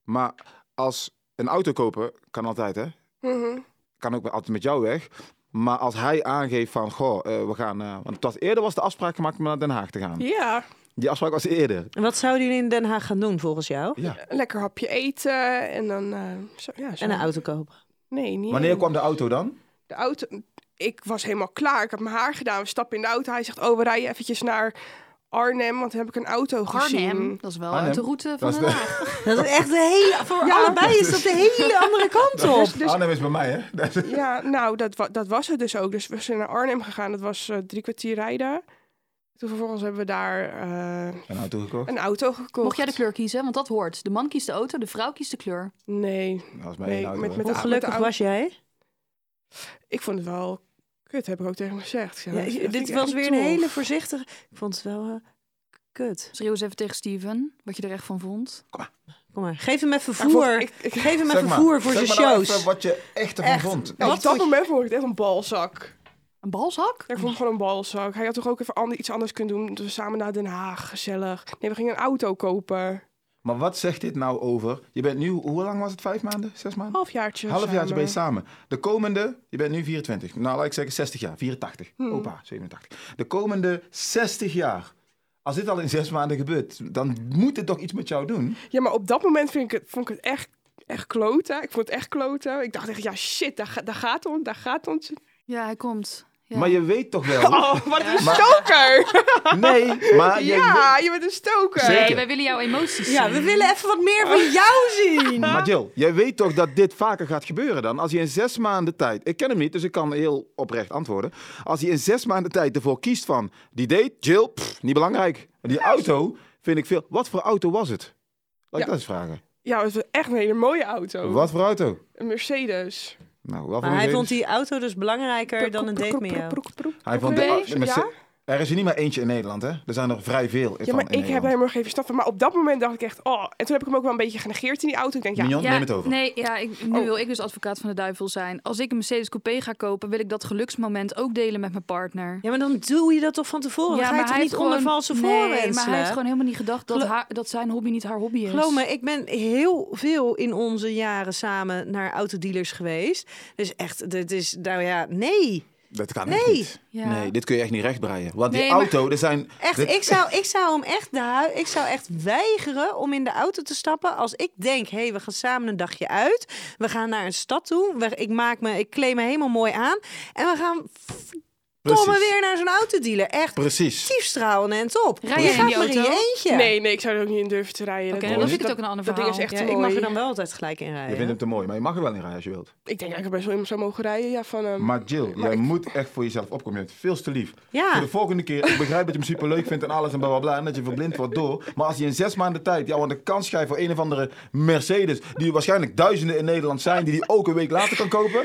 Speaker 4: Maar als een auto kopen, kan altijd hè.
Speaker 2: Mhm.
Speaker 4: Kan ook altijd met jou weg. Maar als hij aangeeft van, goh, eh, we gaan... eh, want het was, eerder was de afspraak gemaakt om naar Den Haag te gaan.
Speaker 2: Ja,
Speaker 4: Die afspraak was eerder.
Speaker 3: En wat zouden jullie in Den Haag gaan doen volgens jou?
Speaker 4: Ja.
Speaker 2: een lekker hapje eten en dan. eh, zo, ja, zo.
Speaker 3: En een auto kopen.
Speaker 2: Nee, niet.
Speaker 4: Wanneer kwam de auto dan?
Speaker 2: de auto. Ik was helemaal klaar. Ik had mijn haar gedaan. We stappen in de auto. Hij zegt: Oh, we rijden eventjes naar Arnhem. Want dan heb ik een auto gezien.
Speaker 5: Arnhem, dat is wel
Speaker 4: Arnhem.
Speaker 5: uit de route
Speaker 4: Dat
Speaker 5: van
Speaker 4: is
Speaker 5: Den
Speaker 4: de-
Speaker 5: Haag.
Speaker 3: Dat is echt de hele... Voor
Speaker 2: Ja.
Speaker 3: allebei is dat de hele andere kant op.
Speaker 2: Dus-
Speaker 4: Arnhem Ah, is bij mij, hè? Dat is-
Speaker 2: Ja, nou, dat, wa- dat was het dus ook. Dus we zijn naar Arnhem gegaan. Dat was eh, drie kwartier rijden. Toen vervolgens hebben we daar eh,
Speaker 4: Een auto gekocht.
Speaker 2: een auto gekocht.
Speaker 5: Mocht jij de kleur kiezen, want dat hoort. De man kiest de auto, de vrouw kiest de kleur.
Speaker 2: Nee.
Speaker 4: Dat was mijn
Speaker 2: Nee,
Speaker 4: één auto.
Speaker 2: met-
Speaker 4: hè?
Speaker 2: met-
Speaker 4: Ah,
Speaker 3: Hoe
Speaker 2: de
Speaker 3: gelukkig
Speaker 2: auto-
Speaker 3: was jij?
Speaker 2: Ik vond het wel kut, heb ik ook tegen hem gezegd. Ik zei,
Speaker 3: Ja,
Speaker 2: dat vind
Speaker 3: dit
Speaker 2: ik
Speaker 3: was
Speaker 2: echt
Speaker 3: weer een
Speaker 2: niet tof.
Speaker 3: hele voorzichtige... Ik vond het wel eh, kut.
Speaker 5: Schreeuw eens even tegen Steven, wat je er echt van vond.
Speaker 3: Kom maar, geef hem even
Speaker 2: Maar volgens-
Speaker 3: voer.
Speaker 2: ik- ik-
Speaker 3: Geef hem
Speaker 4: Zeg
Speaker 3: even
Speaker 4: maar,
Speaker 3: voer voor
Speaker 4: zeg
Speaker 3: zijn
Speaker 4: maar nou
Speaker 3: shows.
Speaker 4: even wat je echt ervan
Speaker 3: Echt.
Speaker 4: vond.
Speaker 2: Ja, op dat
Speaker 3: Wat vond-
Speaker 2: moment vond ik het echt een balzak.
Speaker 5: Een balzak?
Speaker 2: Ik vond het gewoon een balzak. Hij had toch ook even ander- iets anders kunnen doen. Dus we samen naar Den Haag, gezellig. Nee, we gingen een auto kopen.
Speaker 4: Maar wat zegt dit nou over... Je bent nu, hoe lang was het? Vijf maanden? Zes maanden?
Speaker 2: Halfjaartje.
Speaker 4: Halfjaartje ben je
Speaker 2: samen.
Speaker 4: samen. De komende, je bent nu 24. Nou, laat ik zeggen 60 jaar. 84. Opa, 87. De komende 60 jaar. Als dit al in zes maanden gebeurt, dan moet het toch iets met jou doen?
Speaker 2: Ja, maar op dat moment vind ik het, vond ik het echt, echt kloten. Ik vond het echt kloten. Ik dacht echt, ja shit, daar, ga- daar gaat ons, daar gaat ons.
Speaker 5: Ja, hij komt. Ja.
Speaker 4: Maar je weet toch wel...
Speaker 2: Oh, wat een stoker!
Speaker 4: Nee, maar je
Speaker 2: Ja, je bent een stoker.
Speaker 4: Ah, Zeker.
Speaker 5: Nee, wij willen jouw emoties
Speaker 3: Ja,
Speaker 5: zien.
Speaker 3: we willen even wat meer van jou zien.
Speaker 4: Maar Jill, jij weet toch dat dit vaker gaat gebeuren dan? Als hij in zes maanden tijd... Ik ken hem niet, dus ik kan heel oprecht antwoorden. Als hij in zes maanden tijd ervoor kiest van... Die date, Jill, pff, niet belangrijk. En Die auto vind ik veel... Wat voor auto was het?
Speaker 2: Ja.
Speaker 4: Laat ik
Speaker 2: Oh.
Speaker 4: dat eens vragen.
Speaker 2: Ja, het was echt een hele mooie auto.
Speaker 4: Wat voor auto?
Speaker 2: Een Mercedes.
Speaker 4: Nou, wel voor
Speaker 3: Maar hij
Speaker 4: Mercedes.
Speaker 3: vond die auto dus belangrijker dan een date met jou.
Speaker 2: Proek, proek, proek.
Speaker 4: Hij vond
Speaker 5: Nee,
Speaker 4: de- met-
Speaker 2: ja?
Speaker 4: Er is er niet maar eentje in Nederland, hè? Er zijn er vrij veel
Speaker 2: Ja, maar ik heb helemaal geen verstand van. Maar op dat moment dacht ik echt, oh. En toen heb ik hem ook wel een beetje genegeerd in die auto. Ik denk, ja,
Speaker 4: Mignon,
Speaker 5: Ja,
Speaker 4: neem het over.
Speaker 5: Nee, ja, ik, nu wil ik dus advocaat van de duivel zijn. Als ik een Mercedes Coupé ga kopen, wil ik dat geluksmoment ook delen met mijn partner.
Speaker 3: Ja, maar dan doe je dat toch van
Speaker 5: oh,
Speaker 3: tevoren? Ja, dan ga je toch niet
Speaker 5: heeft
Speaker 3: onder
Speaker 5: gewoon-
Speaker 3: valse
Speaker 5: Nee,
Speaker 3: voorwendselen?
Speaker 5: maar hij heeft gewoon helemaal niet gedacht dat,
Speaker 3: Gelo-
Speaker 5: haar, dat zijn hobby niet haar hobby is.
Speaker 3: Geloof me, ik ben heel veel in onze jaren samen naar autodealers geweest. Dus echt, dit is, nou ja, nee.
Speaker 4: Dat kan
Speaker 3: Nee.
Speaker 4: echt niet.
Speaker 5: Ja.
Speaker 4: Nee, dit kun je echt niet rechtbreien. Want
Speaker 5: Nee,
Speaker 4: die
Speaker 5: maar-
Speaker 4: auto, er zijn...
Speaker 3: Echt,
Speaker 4: dit-
Speaker 3: ik, zou, ik zou hem echt de hui- ik zou echt weigeren om in de auto te stappen als ik denk, hé, hey, we gaan samen een dagje uit. We gaan naar een stad toe. We- ik maak me, ik kleed me helemaal mooi aan. En we gaan
Speaker 4: Precies.
Speaker 3: verdomme weer naar zo'n autodealer. Echt,
Speaker 4: Precies.
Speaker 3: diefstralen en top.
Speaker 5: Rij
Speaker 3: je
Speaker 5: jij in
Speaker 3: gaat
Speaker 5: die
Speaker 3: maar in
Speaker 5: auto?
Speaker 3: je eentje.
Speaker 2: nee, nee, ik zou er ook niet in durven te rijden.
Speaker 5: Oké,
Speaker 2: Dat-
Speaker 5: dan
Speaker 4: is
Speaker 5: vind ik
Speaker 2: dat-
Speaker 5: het ook een ander
Speaker 2: dat ding
Speaker 5: verhaal.
Speaker 2: is echt
Speaker 3: Ja,
Speaker 2: te
Speaker 3: ik mag
Speaker 2: mooi.
Speaker 3: er dan wel altijd gelijk in rijden.
Speaker 4: Je vindt hem te mooi, maar je mag er wel in rijden als je wilt.
Speaker 2: Ik denk dat ik er best wel in zou mogen rijden, ja, van ehm, hem.
Speaker 4: Maar Jill, jij
Speaker 2: ik-
Speaker 4: moet echt voor jezelf opkomen. Je bent veel te lief.
Speaker 3: Ja.
Speaker 4: Voor de volgende keer, ik begrijp dat je hem superleuk vindt en alles en bla bla bla. En dat je verblind wordt door. Maar als je in zes maanden tijd jou aan de kans schrijft voor een of andere Mercedes. Die waarschijnlijk duizenden in Nederland zijn. Die die ook een week later kan kopen.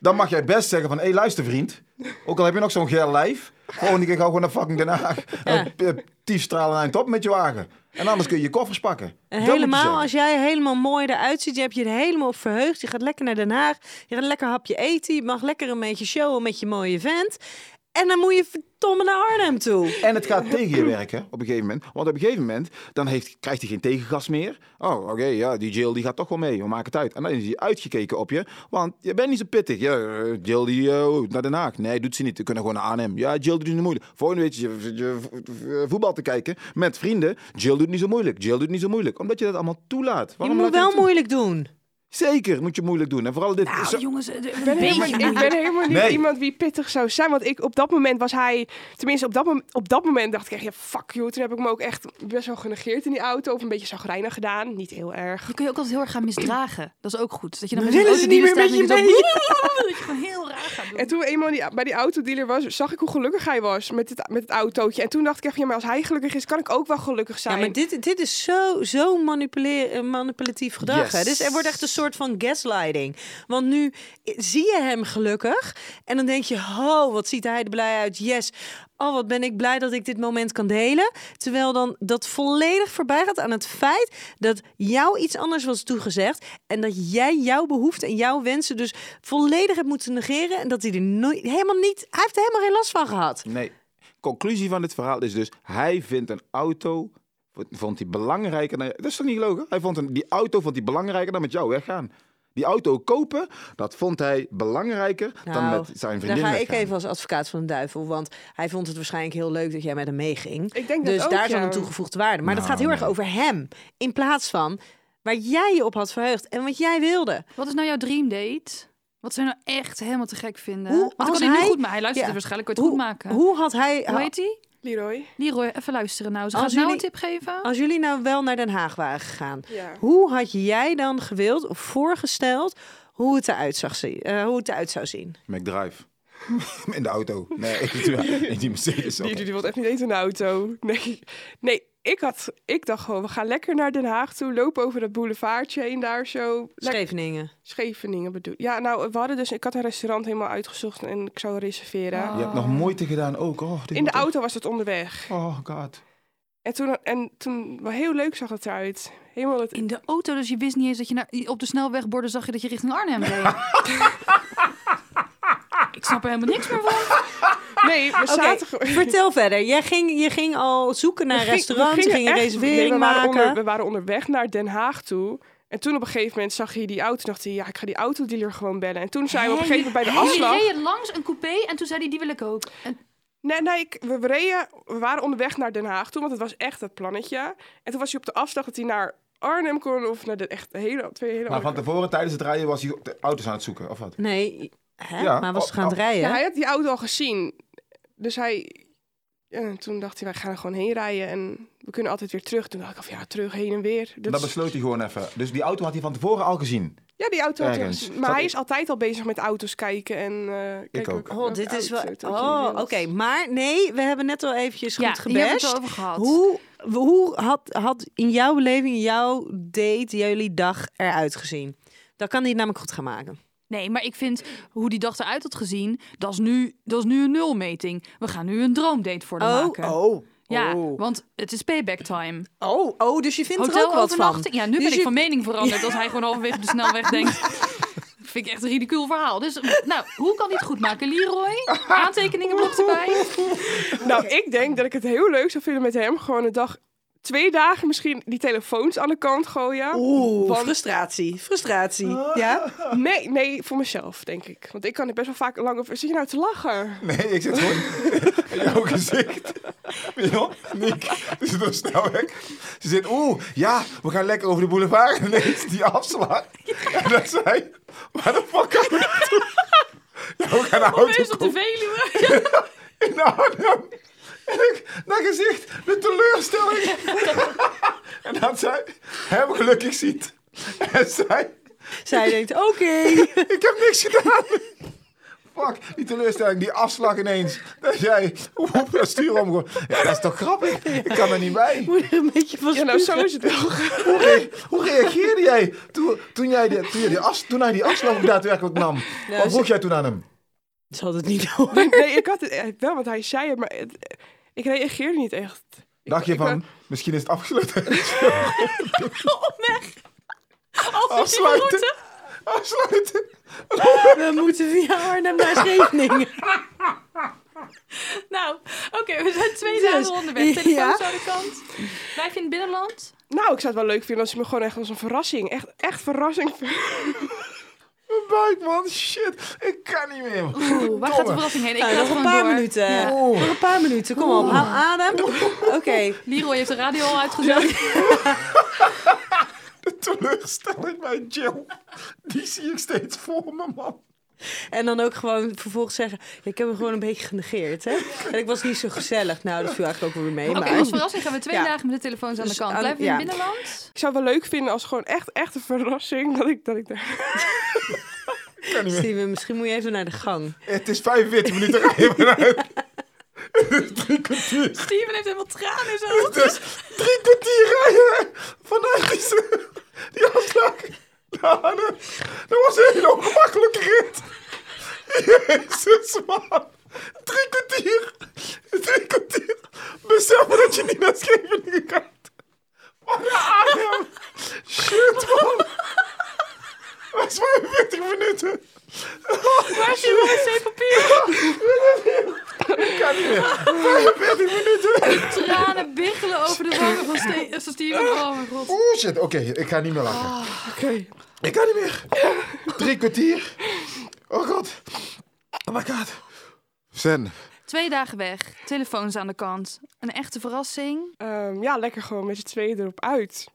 Speaker 4: Dan mag jij best zeggen van, hé hey, luister vriend, ook al heb je nog zo'n geil lijf, volgende keer ga gewoon naar fucking Den Haag. En op, eh, Tiefstralen naar een top met je wagen. En anders kun je je koffers pakken. Dat
Speaker 3: En
Speaker 4: moet je
Speaker 3: helemaal,
Speaker 4: zeggen.
Speaker 3: als jij helemaal mooi eruit ziet, je hebt je er helemaal op verheugd. Je gaat lekker naar Den Haag, je gaat lekker hapje eten, je mag lekker een beetje showen met je mooie vent. En dan moet je verdomme naar Arnhem toe.
Speaker 4: En het gaat tegen je werken op een gegeven moment. Want op een gegeven moment dan heeft, krijgt hij geen tegengas meer. Oh, oké, ja, die Jill die gaat toch wel mee. We maken het uit. En dan is hij uitgekeken op je. Want je bent niet zo pittig. Ja, eh, Jill die eh, naar Den Haag. Nee, doet ze niet. We kunnen gewoon naar Arnhem. Ja, Jill doet niet zo moeilijk. Volgende week zit je, je vo- voetbal te kijken met vrienden. Jill doet niet zo moeilijk. Jill doet niet zo moeilijk. Omdat je dat allemaal toelaat.
Speaker 3: Je
Speaker 4: Waarom
Speaker 3: moet
Speaker 4: laat
Speaker 3: wel
Speaker 4: dat toe?
Speaker 3: moeilijk doen.
Speaker 4: Zeker moet je moeilijk doen. En vooral dit.
Speaker 5: Nou,
Speaker 4: zo-
Speaker 5: jongens, eh, een
Speaker 2: ben helemaal,
Speaker 5: beetje
Speaker 2: ik ben helemaal niet
Speaker 4: Nee.
Speaker 2: iemand wie pittig zou zijn. Want ik, op dat moment was hij... Tenminste, op dat, mom- op dat moment dacht ik echt... Ja, fuck you. Toen heb ik me ook echt best wel genegeerd in die auto. Of een beetje zagrijnig gedaan. Niet heel erg.
Speaker 5: Je kun je ook altijd heel erg gaan misdragen. Dat is ook goed. Dat je dan
Speaker 3: Dan
Speaker 5: met zo'n
Speaker 3: willen ze niet meer
Speaker 5: autodealer
Speaker 3: met
Speaker 5: staat en
Speaker 3: je
Speaker 5: je zo- Dat je gewoon heel raar gaat doen.
Speaker 2: En toen we eenmaal die, bij die autodealer was... zag ik hoe gelukkig hij was met het, met het autootje. En toen dacht ik echt... van, Ja, maar als hij gelukkig is, kan ik ook wel gelukkig
Speaker 3: Ja,
Speaker 2: zijn.
Speaker 3: maar dit, dit is zo, zo manipule- eh, manipulatief gedrag.
Speaker 4: Yes.
Speaker 3: Hè? Dus er wordt echt een soort van gaslighting. Want nu i- zie je hem gelukkig en dan denk je, oh, wat ziet hij er blij uit. Yes, oh, wat ben ik blij dat ik dit moment kan delen. Terwijl dan dat volledig voorbij gaat aan het feit dat jou iets anders was toegezegd. En dat jij jouw behoeften en jouw wensen dus volledig hebt moeten negeren. En dat hij er nooit, helemaal niet, hij heeft er helemaal geen last van gehad.
Speaker 4: Nee. Conclusie van dit verhaal is dus: hij vindt een auto vond hij belangrijker. Dan, dat is toch niet gelogen? Hij vond een, die auto vond hij belangrijker dan met jou weggaan. Die auto kopen, dat vond hij belangrijker dan
Speaker 3: Nou,
Speaker 4: met zijn
Speaker 3: Daar
Speaker 4: vriendin.
Speaker 3: ga ik
Speaker 4: weggaan.
Speaker 3: even als advocaat van de duivel. Want hij vond het waarschijnlijk heel leuk dat jij met hem meeging.
Speaker 2: Ik denk dat
Speaker 3: Dus
Speaker 2: ook,
Speaker 3: daar zat
Speaker 2: ja.
Speaker 3: een toegevoegde waarde. Maar dat
Speaker 4: Nou,
Speaker 3: gaat heel
Speaker 4: nee.
Speaker 3: erg over hem. In plaats van waar jij je op had verheugd en wat jij wilde.
Speaker 5: Wat is nou jouw dreamdate? Wat zou je nou echt helemaal te gek vinden?
Speaker 3: Hoe-
Speaker 5: Wat kan
Speaker 3: als
Speaker 5: hij nu
Speaker 3: hij-
Speaker 5: goed maken? Hij luistert
Speaker 3: Ja.
Speaker 5: het waarschijnlijk, kan je
Speaker 3: Hoe,
Speaker 5: het goed maken.
Speaker 3: hoe had hij.
Speaker 5: Hoe heet hij?
Speaker 2: Leroy.
Speaker 5: Leroy, even luisteren nou. Ze
Speaker 3: Als
Speaker 5: gaat nou
Speaker 3: jullie-
Speaker 5: een tip geven.
Speaker 3: Als jullie nou wel naar Den Haag waren gegaan,
Speaker 2: Ja.
Speaker 3: hoe had jij dan gewild of voorgesteld hoe het eruit, zag zien, eh, hoe het eruit zou zien?
Speaker 4: McDrive. in de auto. Nee, ik doe in die Mercedes.
Speaker 2: Die,
Speaker 4: oké.
Speaker 2: die, die wil echt niet eens een auto. Nee, nee ik, had, ik dacht gewoon, we gaan lekker naar Den Haag toe. Lopen over dat boulevardje heen daar zo. Lekker-
Speaker 3: Scheveningen.
Speaker 2: Scheveningen bedoel Ja, nou, we hadden dus... Ik had een restaurant helemaal uitgezocht en ik zou reserveren.
Speaker 5: Oh.
Speaker 4: Je hebt nog moeite gedaan ook. Oh, dit
Speaker 2: In de
Speaker 4: moet
Speaker 2: auto was het onderweg.
Speaker 4: echt- Oh god.
Speaker 2: En toen, en toen wel heel leuk zag het eruit. Helemaal het...
Speaker 5: In de auto, dus je wist niet eens dat je naar, op de snelwegborden zag je dat je richting Arnhem reed. ik snap er helemaal niks meer van.
Speaker 2: Nee, we
Speaker 3: Oké,
Speaker 2: zaten... gewoon-
Speaker 3: vertel verder. Jij ging, je ging al zoeken naar
Speaker 2: We ging- we
Speaker 3: restaurants, ging
Speaker 2: gingen
Speaker 3: een
Speaker 2: echt- nee,
Speaker 3: reservering
Speaker 2: we waren
Speaker 3: maken.
Speaker 2: onder- we waren onderweg naar Den Haag toe. En toen op een gegeven moment zag je die auto. En dacht hij, ja, ik ga die autodealer gewoon bellen. En toen zijn we op een gegeven moment bij de
Speaker 5: Jullie
Speaker 2: afslag.
Speaker 5: reden langs een coupé en toen zei hij, die wil ik ook. En
Speaker 2: Nee, nee, ik, we, reden, we waren onderweg naar Den Haag toe, want het was echt het plannetje. En toen was hij op de afslag dat hij naar Arnhem kon of naar de echt hele, twee hele
Speaker 4: Maar
Speaker 2: andere
Speaker 4: van tevoren tijdens het rijden was hij op de auto's aan het zoeken, of wat?
Speaker 3: Nee, hè?
Speaker 4: Ja,
Speaker 3: maar was
Speaker 4: oh,
Speaker 3: ze gaan het
Speaker 4: oh.
Speaker 3: rijden?
Speaker 2: Ja, hij had die auto al gezien. Dus hij... En toen dacht hij, wij gaan er gewoon heen rijden en we kunnen altijd weer terug. Toen dacht ik, of ja, terug, heen en weer. Dat
Speaker 4: Dat
Speaker 2: is-
Speaker 4: besloot hij gewoon even. Dus die auto had hij van tevoren al gezien.
Speaker 2: ja, die auto had hij al
Speaker 4: Ergens.
Speaker 2: gezien. Maar
Speaker 4: Zat
Speaker 2: hij
Speaker 4: ik-
Speaker 2: is altijd al bezig met auto's kijken en... eh, kijken
Speaker 4: ook.
Speaker 2: welke-
Speaker 3: Oh, dit
Speaker 2: welke
Speaker 3: is wel.
Speaker 2: auto dat je
Speaker 3: Oh, oké.
Speaker 2: wilt.
Speaker 3: Maar nee, we hebben net al eventjes
Speaker 5: ja,
Speaker 3: goed
Speaker 5: je hebt het
Speaker 3: gebest.
Speaker 5: over gehad.
Speaker 3: Hoe, hoe had, had in jouw beleving jouw date, jullie dag eruit gezien? Dan kan die het namelijk goed gaan maken.
Speaker 5: Nee, maar ik vind hoe die dag eruit had gezien, dat is nu, dat is nu een nulmeting. We gaan nu een droomdate voor hem maken.
Speaker 3: oh.
Speaker 5: Ja,
Speaker 3: oh.
Speaker 5: want het is payback time.
Speaker 3: oh, oh, dus je vindt er ook wat van.
Speaker 5: Hotelovernachting. Ja, nu
Speaker 3: Dus
Speaker 5: ben ik
Speaker 3: je-
Speaker 5: van mening veranderd als hij gewoon halverwege op de snelweg denkt. Vind ik echt een ridicuul verhaal. Dus nou, hoe kan dit goed maken? Leroy, aantekeningenblok erbij.
Speaker 2: Nou, ik denk dat ik het heel leuk zou vinden met hem. Gewoon een dag, twee dagen misschien, die telefoons aan de kant gooien.
Speaker 3: Oeh,
Speaker 2: Want-
Speaker 3: frustratie, frustratie. Ja?
Speaker 2: Nee, nee, voor mezelf, denk ik. Want ik kan er best wel vaak lang over... Zit je nou te lachen?
Speaker 4: Nee, ik zit gewoon in jouw gezicht. Pion, Niek, ze doet snel weg. Ze zit, oeh, ja, we gaan lekker over de boulevard. En ineens die afslag. En dan zei, waar de fuck gaan we naartoe? Ja, we gaan naar auto
Speaker 5: Opeens op de Veluwe.
Speaker 4: in de Arnhem. En ik, dat gezicht, de teleurstelling. En dat zij hem gelukkig ziet. En zij,
Speaker 3: Zij denkt, oké.
Speaker 4: ik heb niks gedaan. fuck, die teleurstelling, die afslag ineens. Dat jij op dat stuur omgooit. Ja, dat is toch grappig? Ik kan er niet bij.
Speaker 3: Moet er een beetje van
Speaker 2: Ja, nou, zo
Speaker 3: spugen.
Speaker 2: is het wel.
Speaker 4: Hoe, rea- hoe reageerde jij toen, toen, jij die, toen, jij die as, toen hij die afslag ook daadwerkelijk nam? Wat
Speaker 3: ze-
Speaker 4: vroeg jij toen aan hem?
Speaker 3: Ze had het niet door.
Speaker 2: Nee, ik had het eh, wel, want hij zei het, maar het- ik reageerde niet echt. Ik-
Speaker 4: Dacht je
Speaker 2: ik
Speaker 4: van, misschien is het afgesloten?
Speaker 5: Op weg.
Speaker 3: Oh,
Speaker 5: Als die
Speaker 4: Afsluiten!
Speaker 5: route.
Speaker 4: Afsluiten!
Speaker 3: We moeten via Arnhem naar Scheveningen.
Speaker 5: Nou, oké, we zijn twee
Speaker 3: Dus,
Speaker 5: dagen onderweg. Telefoon
Speaker 3: ja.
Speaker 5: aan de kant. Blijf je in het binnenland?
Speaker 2: Nou, ik zou het wel leuk vinden als hij me gewoon echt als een verrassing, echt, echt verrassing.
Speaker 4: Mijn buik, man. Shit. Ik kan niet meer.
Speaker 5: Oeh, waar gaat de
Speaker 4: Domme.
Speaker 5: verrassing heen? Ik
Speaker 3: Nou,
Speaker 5: ga
Speaker 3: nog
Speaker 5: gewoon
Speaker 3: een paar
Speaker 5: door.
Speaker 3: minuten.
Speaker 4: Oeh.
Speaker 3: Nog een paar minuten. Kom
Speaker 4: Oh.
Speaker 3: op, haal adem. Oké.
Speaker 5: Leroy heeft de radio al uitgezet.
Speaker 4: De teleurstelling bij Jill. Die zie ik steeds voor me, man.
Speaker 3: En dan ook gewoon vervolgens zeggen... ja, ik heb hem gewoon een beetje genegeerd, hè. En ik was niet zo gezellig. Nou, dat viel eigenlijk ook weer mee.
Speaker 5: Oké,
Speaker 3: maar...
Speaker 5: als verrassing gaan we twee
Speaker 3: Nou, Ja.
Speaker 5: dagen met de telefoons aan de
Speaker 3: Dus
Speaker 5: kant.
Speaker 3: aan-
Speaker 5: Blijf je in het
Speaker 3: ja.
Speaker 5: binnenland?
Speaker 2: Ik zou het wel leuk vinden als gewoon echt, echt een verrassing dat ik, dat ik daar...
Speaker 3: Steven, misschien moet je even naar de gang.
Speaker 4: Het is 45 minuten rijden. eruit. Het is drie kwartier.
Speaker 5: Steven heeft helemaal tranen in zijn ogen.
Speaker 4: Het is drie kwartier rijden. Vanuit die, die afslag. naar Arnhem. Dat was een hele ongemakkelijke rit. Jezus, man. Drie kwartier. Drie kwartier. Besef maar dat je niet naar Scheveningen gaat. Wat een adem. Shit, man. Dat is 45 minuten.
Speaker 5: Waar is je wc-papier?
Speaker 4: Ik kan niet meer. 45 minuten.
Speaker 5: Tranen biggelen over de wangen van Ste- van Steven. Oh mijn god.
Speaker 4: Oeh, shit. Oké, ik ga niet meer lachen.
Speaker 2: Ah, Oké.
Speaker 4: Ik kan niet meer. Drie kwartier. Oh god. Oh my god. Zen.
Speaker 5: Twee dagen weg. Telefoons aan de kant. Een echte verrassing.
Speaker 2: Ehm, ja, lekker gewoon met z'n tweeën erop uit.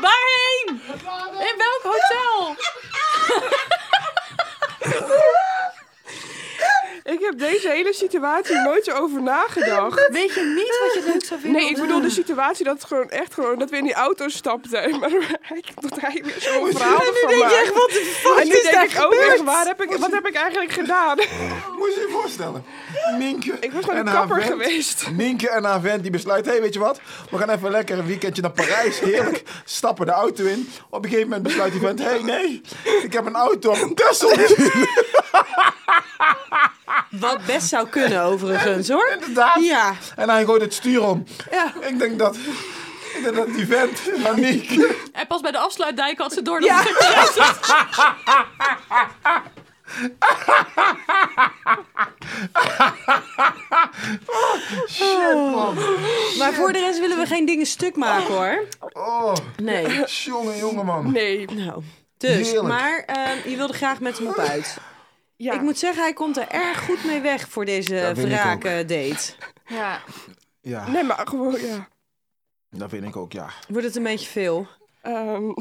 Speaker 5: Waarheen? In welk hotel?
Speaker 2: Ik heb deze hele situatie nooit zo over nagedacht.
Speaker 5: Weet je niet wat je leuk zou vinden?
Speaker 2: Nee, ik bedoel
Speaker 3: eh,
Speaker 2: de situatie dat het gewoon echt gewoon dat we in die auto stapten. Maar hij dat hij weer zo'n verhaal
Speaker 3: En nu
Speaker 2: ervan
Speaker 3: denk je
Speaker 2: maakt.
Speaker 3: echt, wat de fuck
Speaker 2: En nu
Speaker 3: is daar
Speaker 2: denk ik ook
Speaker 3: gebeurd?
Speaker 2: echt, waar heb ik, wat heb ik eigenlijk gedaan?
Speaker 4: Moet je je voorstellen. Nienke
Speaker 2: Ik was gewoon
Speaker 4: en
Speaker 2: een
Speaker 4: haar
Speaker 2: kapper
Speaker 4: vent-
Speaker 2: geweest.
Speaker 4: Nienke en haar vent die besluit, hé hey, weet je wat, we gaan even lekker een weekendje naar Parijs, heerlijk, stappen de auto in. Op een gegeven moment besluit die vent, hé hey, nee, ik heb een auto op een Tessel.
Speaker 3: Wat best zou kunnen, overigens, hoor.
Speaker 4: Inderdaad.
Speaker 3: Ja.
Speaker 4: En hij gooit het stuur om.
Speaker 3: Ja.
Speaker 4: Ik denk dat, ik denk dat die vent, maar Nienke,
Speaker 5: En eh, pas bij de afsluitdijk had ze door dat
Speaker 3: Ja.
Speaker 5: het stuk eruit zat.
Speaker 3: Maar voor de rest willen we geen dingen stuk maken, hoor.
Speaker 4: oh,
Speaker 3: Nee.
Speaker 4: jongen, jongen man.
Speaker 2: Nee.
Speaker 3: Nou, dus,
Speaker 4: Heerlijk.
Speaker 3: maar eh, je wilde graag met hem op uit.
Speaker 2: Ja.
Speaker 3: Ik moet zeggen, hij komt er erg goed mee weg voor deze
Speaker 4: Dat vind ik
Speaker 3: wrake date.
Speaker 5: Ja.
Speaker 4: Ja,
Speaker 2: Nee, maar gewoon, ja.
Speaker 4: dat vind ik ook, ja.
Speaker 3: Wordt het een beetje veel.
Speaker 2: Ehm,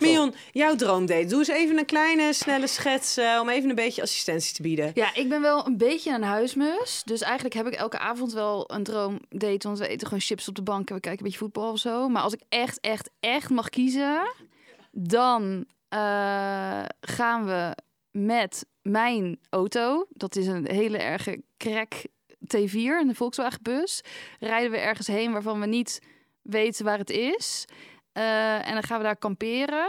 Speaker 3: Mion, jouw droomdate. Doe eens even een kleine, snelle schets eh, om even een beetje assistentie te bieden.
Speaker 5: ja, ik ben wel een beetje een huismus. Dus eigenlijk heb ik elke avond wel een droomdate. Want we eten gewoon chips op de bank en we kijken een beetje voetbal of zo. Maar als ik echt, echt, echt mag kiezen... dan eh, gaan we met mijn auto. Dat is een hele erge crack T4, een Volkswagen bus. Rijden we ergens heen waarvan we niet weten waar het is. Eh, en dan gaan we daar kamperen.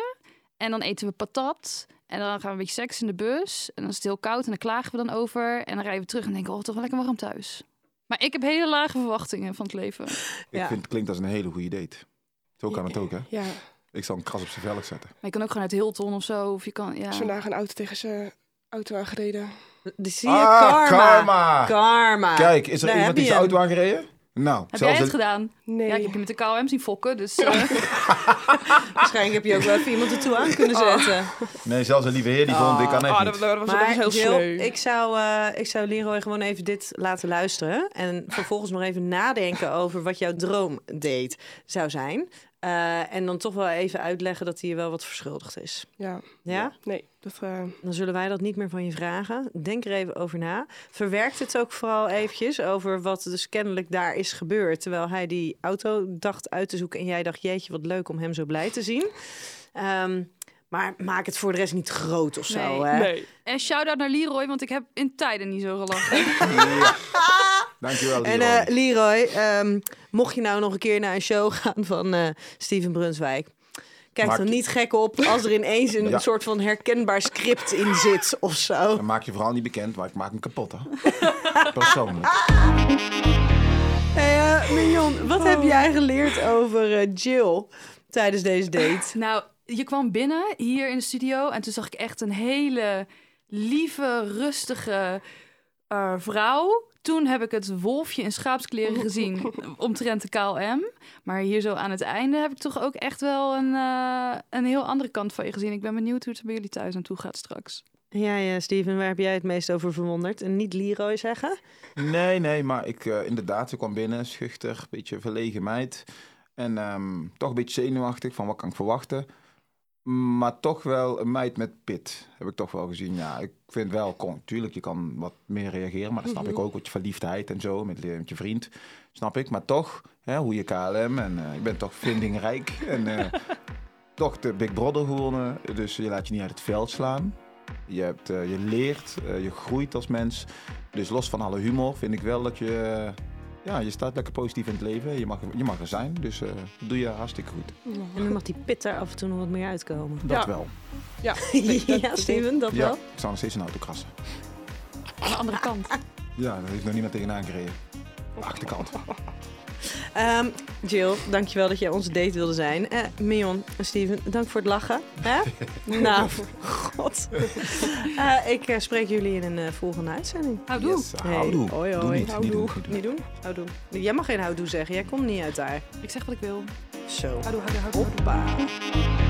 Speaker 5: En dan eten we patat. En dan gaan we een beetje seks in de bus. En dan is het heel koud en daar klagen we dan over. En dan rijden we terug en denken, oh, toch wel lekker warm thuis. Maar ik heb hele lage verwachtingen van het leven.
Speaker 4: Ik
Speaker 3: Ja.
Speaker 4: vind het klinkt als een hele goede date. Zo kan het ook, hè?
Speaker 2: ja,
Speaker 4: Ik zal een kras op zijn velg zetten.
Speaker 5: Maar je kan ook gewoon uit Hilton of zo. Of je kan, ja.
Speaker 2: is vandaag een auto tegen zijn auto aangereden.
Speaker 3: Dus zie je karma.
Speaker 4: Ah, karma.
Speaker 3: Karma.
Speaker 4: Kijk, is er
Speaker 3: Daar
Speaker 4: iemand
Speaker 3: heb
Speaker 4: die
Speaker 3: je
Speaker 4: zijn
Speaker 3: hem.
Speaker 4: auto aangereden? Nou,
Speaker 5: Heb jij
Speaker 4: zelfs
Speaker 5: het
Speaker 4: een-
Speaker 5: gedaan?
Speaker 2: Nee.
Speaker 5: Ja, ik heb je met de KLM zien fokken, dus... eh,
Speaker 3: Waarschijnlijk heb je ook wel even iemand ertoe aan kunnen zetten.
Speaker 4: Nee, zelfs een lieve heer die vond, ik kan echt
Speaker 3: Oh,
Speaker 2: Ah, dat,
Speaker 4: niet.
Speaker 2: dat Oh, was, dat was
Speaker 3: Maar
Speaker 2: heel
Speaker 3: Jill,
Speaker 2: sneu.
Speaker 3: ik zou, eh, ik zou Leroy gewoon even dit laten luisteren. En vervolgens nog even nadenken over wat jouw droomdate zou zijn. Eh, en dan toch wel even uitleggen dat hij je wel wat verschuldigd is.
Speaker 2: Ja,
Speaker 3: Ja?
Speaker 2: nee. Dat, eh,
Speaker 3: Dan zullen wij dat niet meer van je vragen. Denk er even over na. Verwerkt het ook vooral eventjes over wat dus kennelijk daar is gebeurd. Terwijl hij die auto dacht uit te zoeken en jij dacht, jeetje, wat leuk om hem zo blij te zien. Ehm, Maar maak het voor de rest niet groot of zo.
Speaker 5: Nee.
Speaker 3: Hè?
Speaker 2: Nee.
Speaker 5: En shout-out naar Leroy, want ik heb in tijden niet zo gelachen.
Speaker 4: Ja. Dankjewel,
Speaker 3: En
Speaker 4: Leroy.
Speaker 3: eh, Leroy, ehm, mocht je nou nog een keer naar een show gaan van eh, Steven Brunswijk. Kijk
Speaker 4: Maak-
Speaker 3: er niet gek op als er ineens een
Speaker 4: Ja.
Speaker 3: soort van herkenbaar script in zit of zo.
Speaker 4: Dan maak je vooral niet bekend, maar ik maak hem kapot, hè? Persoonlijk.
Speaker 3: Hey, eh, Mignon, wat heb jij geleerd over eh, Jill tijdens deze date?
Speaker 5: nou, je kwam binnen hier in de studio en toen zag ik echt een hele lieve, rustige eh, vrouw. Toen heb ik het wolfje in schaapskleren gezien, omtrent de KLM. Maar hier zo aan het einde heb ik toch ook echt wel een, eh, een heel andere kant van je gezien. Ik ben benieuwd hoe het bij jullie thuis aan toe gaat straks.
Speaker 3: Ja, ja, Steven, waar heb jij het meest over verwonderd? En niet Leroy zeggen?
Speaker 4: Nee, nee, maar ik eh, inderdaad, ik kwam binnen, schuchter, een beetje verlegen meid. En ehm, toch een beetje zenuwachtig van wat kan ik verwachten. Maar toch wel een meid met pit, heb ik toch wel gezien. Ja, ik vind wel, kon, tuurlijk, je kan wat meer reageren, maar dat snap ik ook. Met je verliefdheid en zo, met, eh, met je vriend, snap ik. Maar toch, hè, hoe je KLM en eh, je bent toch vindingrijk. en eh, toch de Big Brother gewonnen, dus je laat je niet uit het veld slaan. Je, hebt, eh, je leert, eh, je groeit als mens. Dus los van alle humor vind ik wel dat je... eh, ja, je staat lekker positief in het leven. Je mag, je mag er zijn, dus eh, doe je hartstikke goed.
Speaker 3: En dan mag die pit daar af en toe nog wat meer uitkomen.
Speaker 4: Dat
Speaker 2: Ja.
Speaker 4: wel.
Speaker 2: Ja,
Speaker 3: ja, Steven, dat
Speaker 4: Ja,
Speaker 3: wel.
Speaker 4: ik sta nog steeds een auto krassen.
Speaker 5: Aan de andere kant.
Speaker 4: Ja, daar heeft nog niemand tegenaan gereden. Achterkant.
Speaker 3: Ehm, Jill, dankjewel dat jij onze date wilde zijn. Eh Mion en Steven, dank voor het lachen. Hè? nou, god. Eh, ik eh, spreek jullie in een eh, volgende uitzending.
Speaker 5: Houdoe.
Speaker 4: Yes, houdoe.
Speaker 3: hoi,
Speaker 4: Doe
Speaker 3: hoi.
Speaker 4: niet, niet doen, niet doen.
Speaker 3: Niet doen? Houdoe. Jij mag geen houdoe zeggen, jij komt niet uit daar.
Speaker 5: Ik zeg wat ik wil.
Speaker 3: Zo.
Speaker 5: Houdoe, houdoe, houdoe. houdoe.
Speaker 3: Hoppa.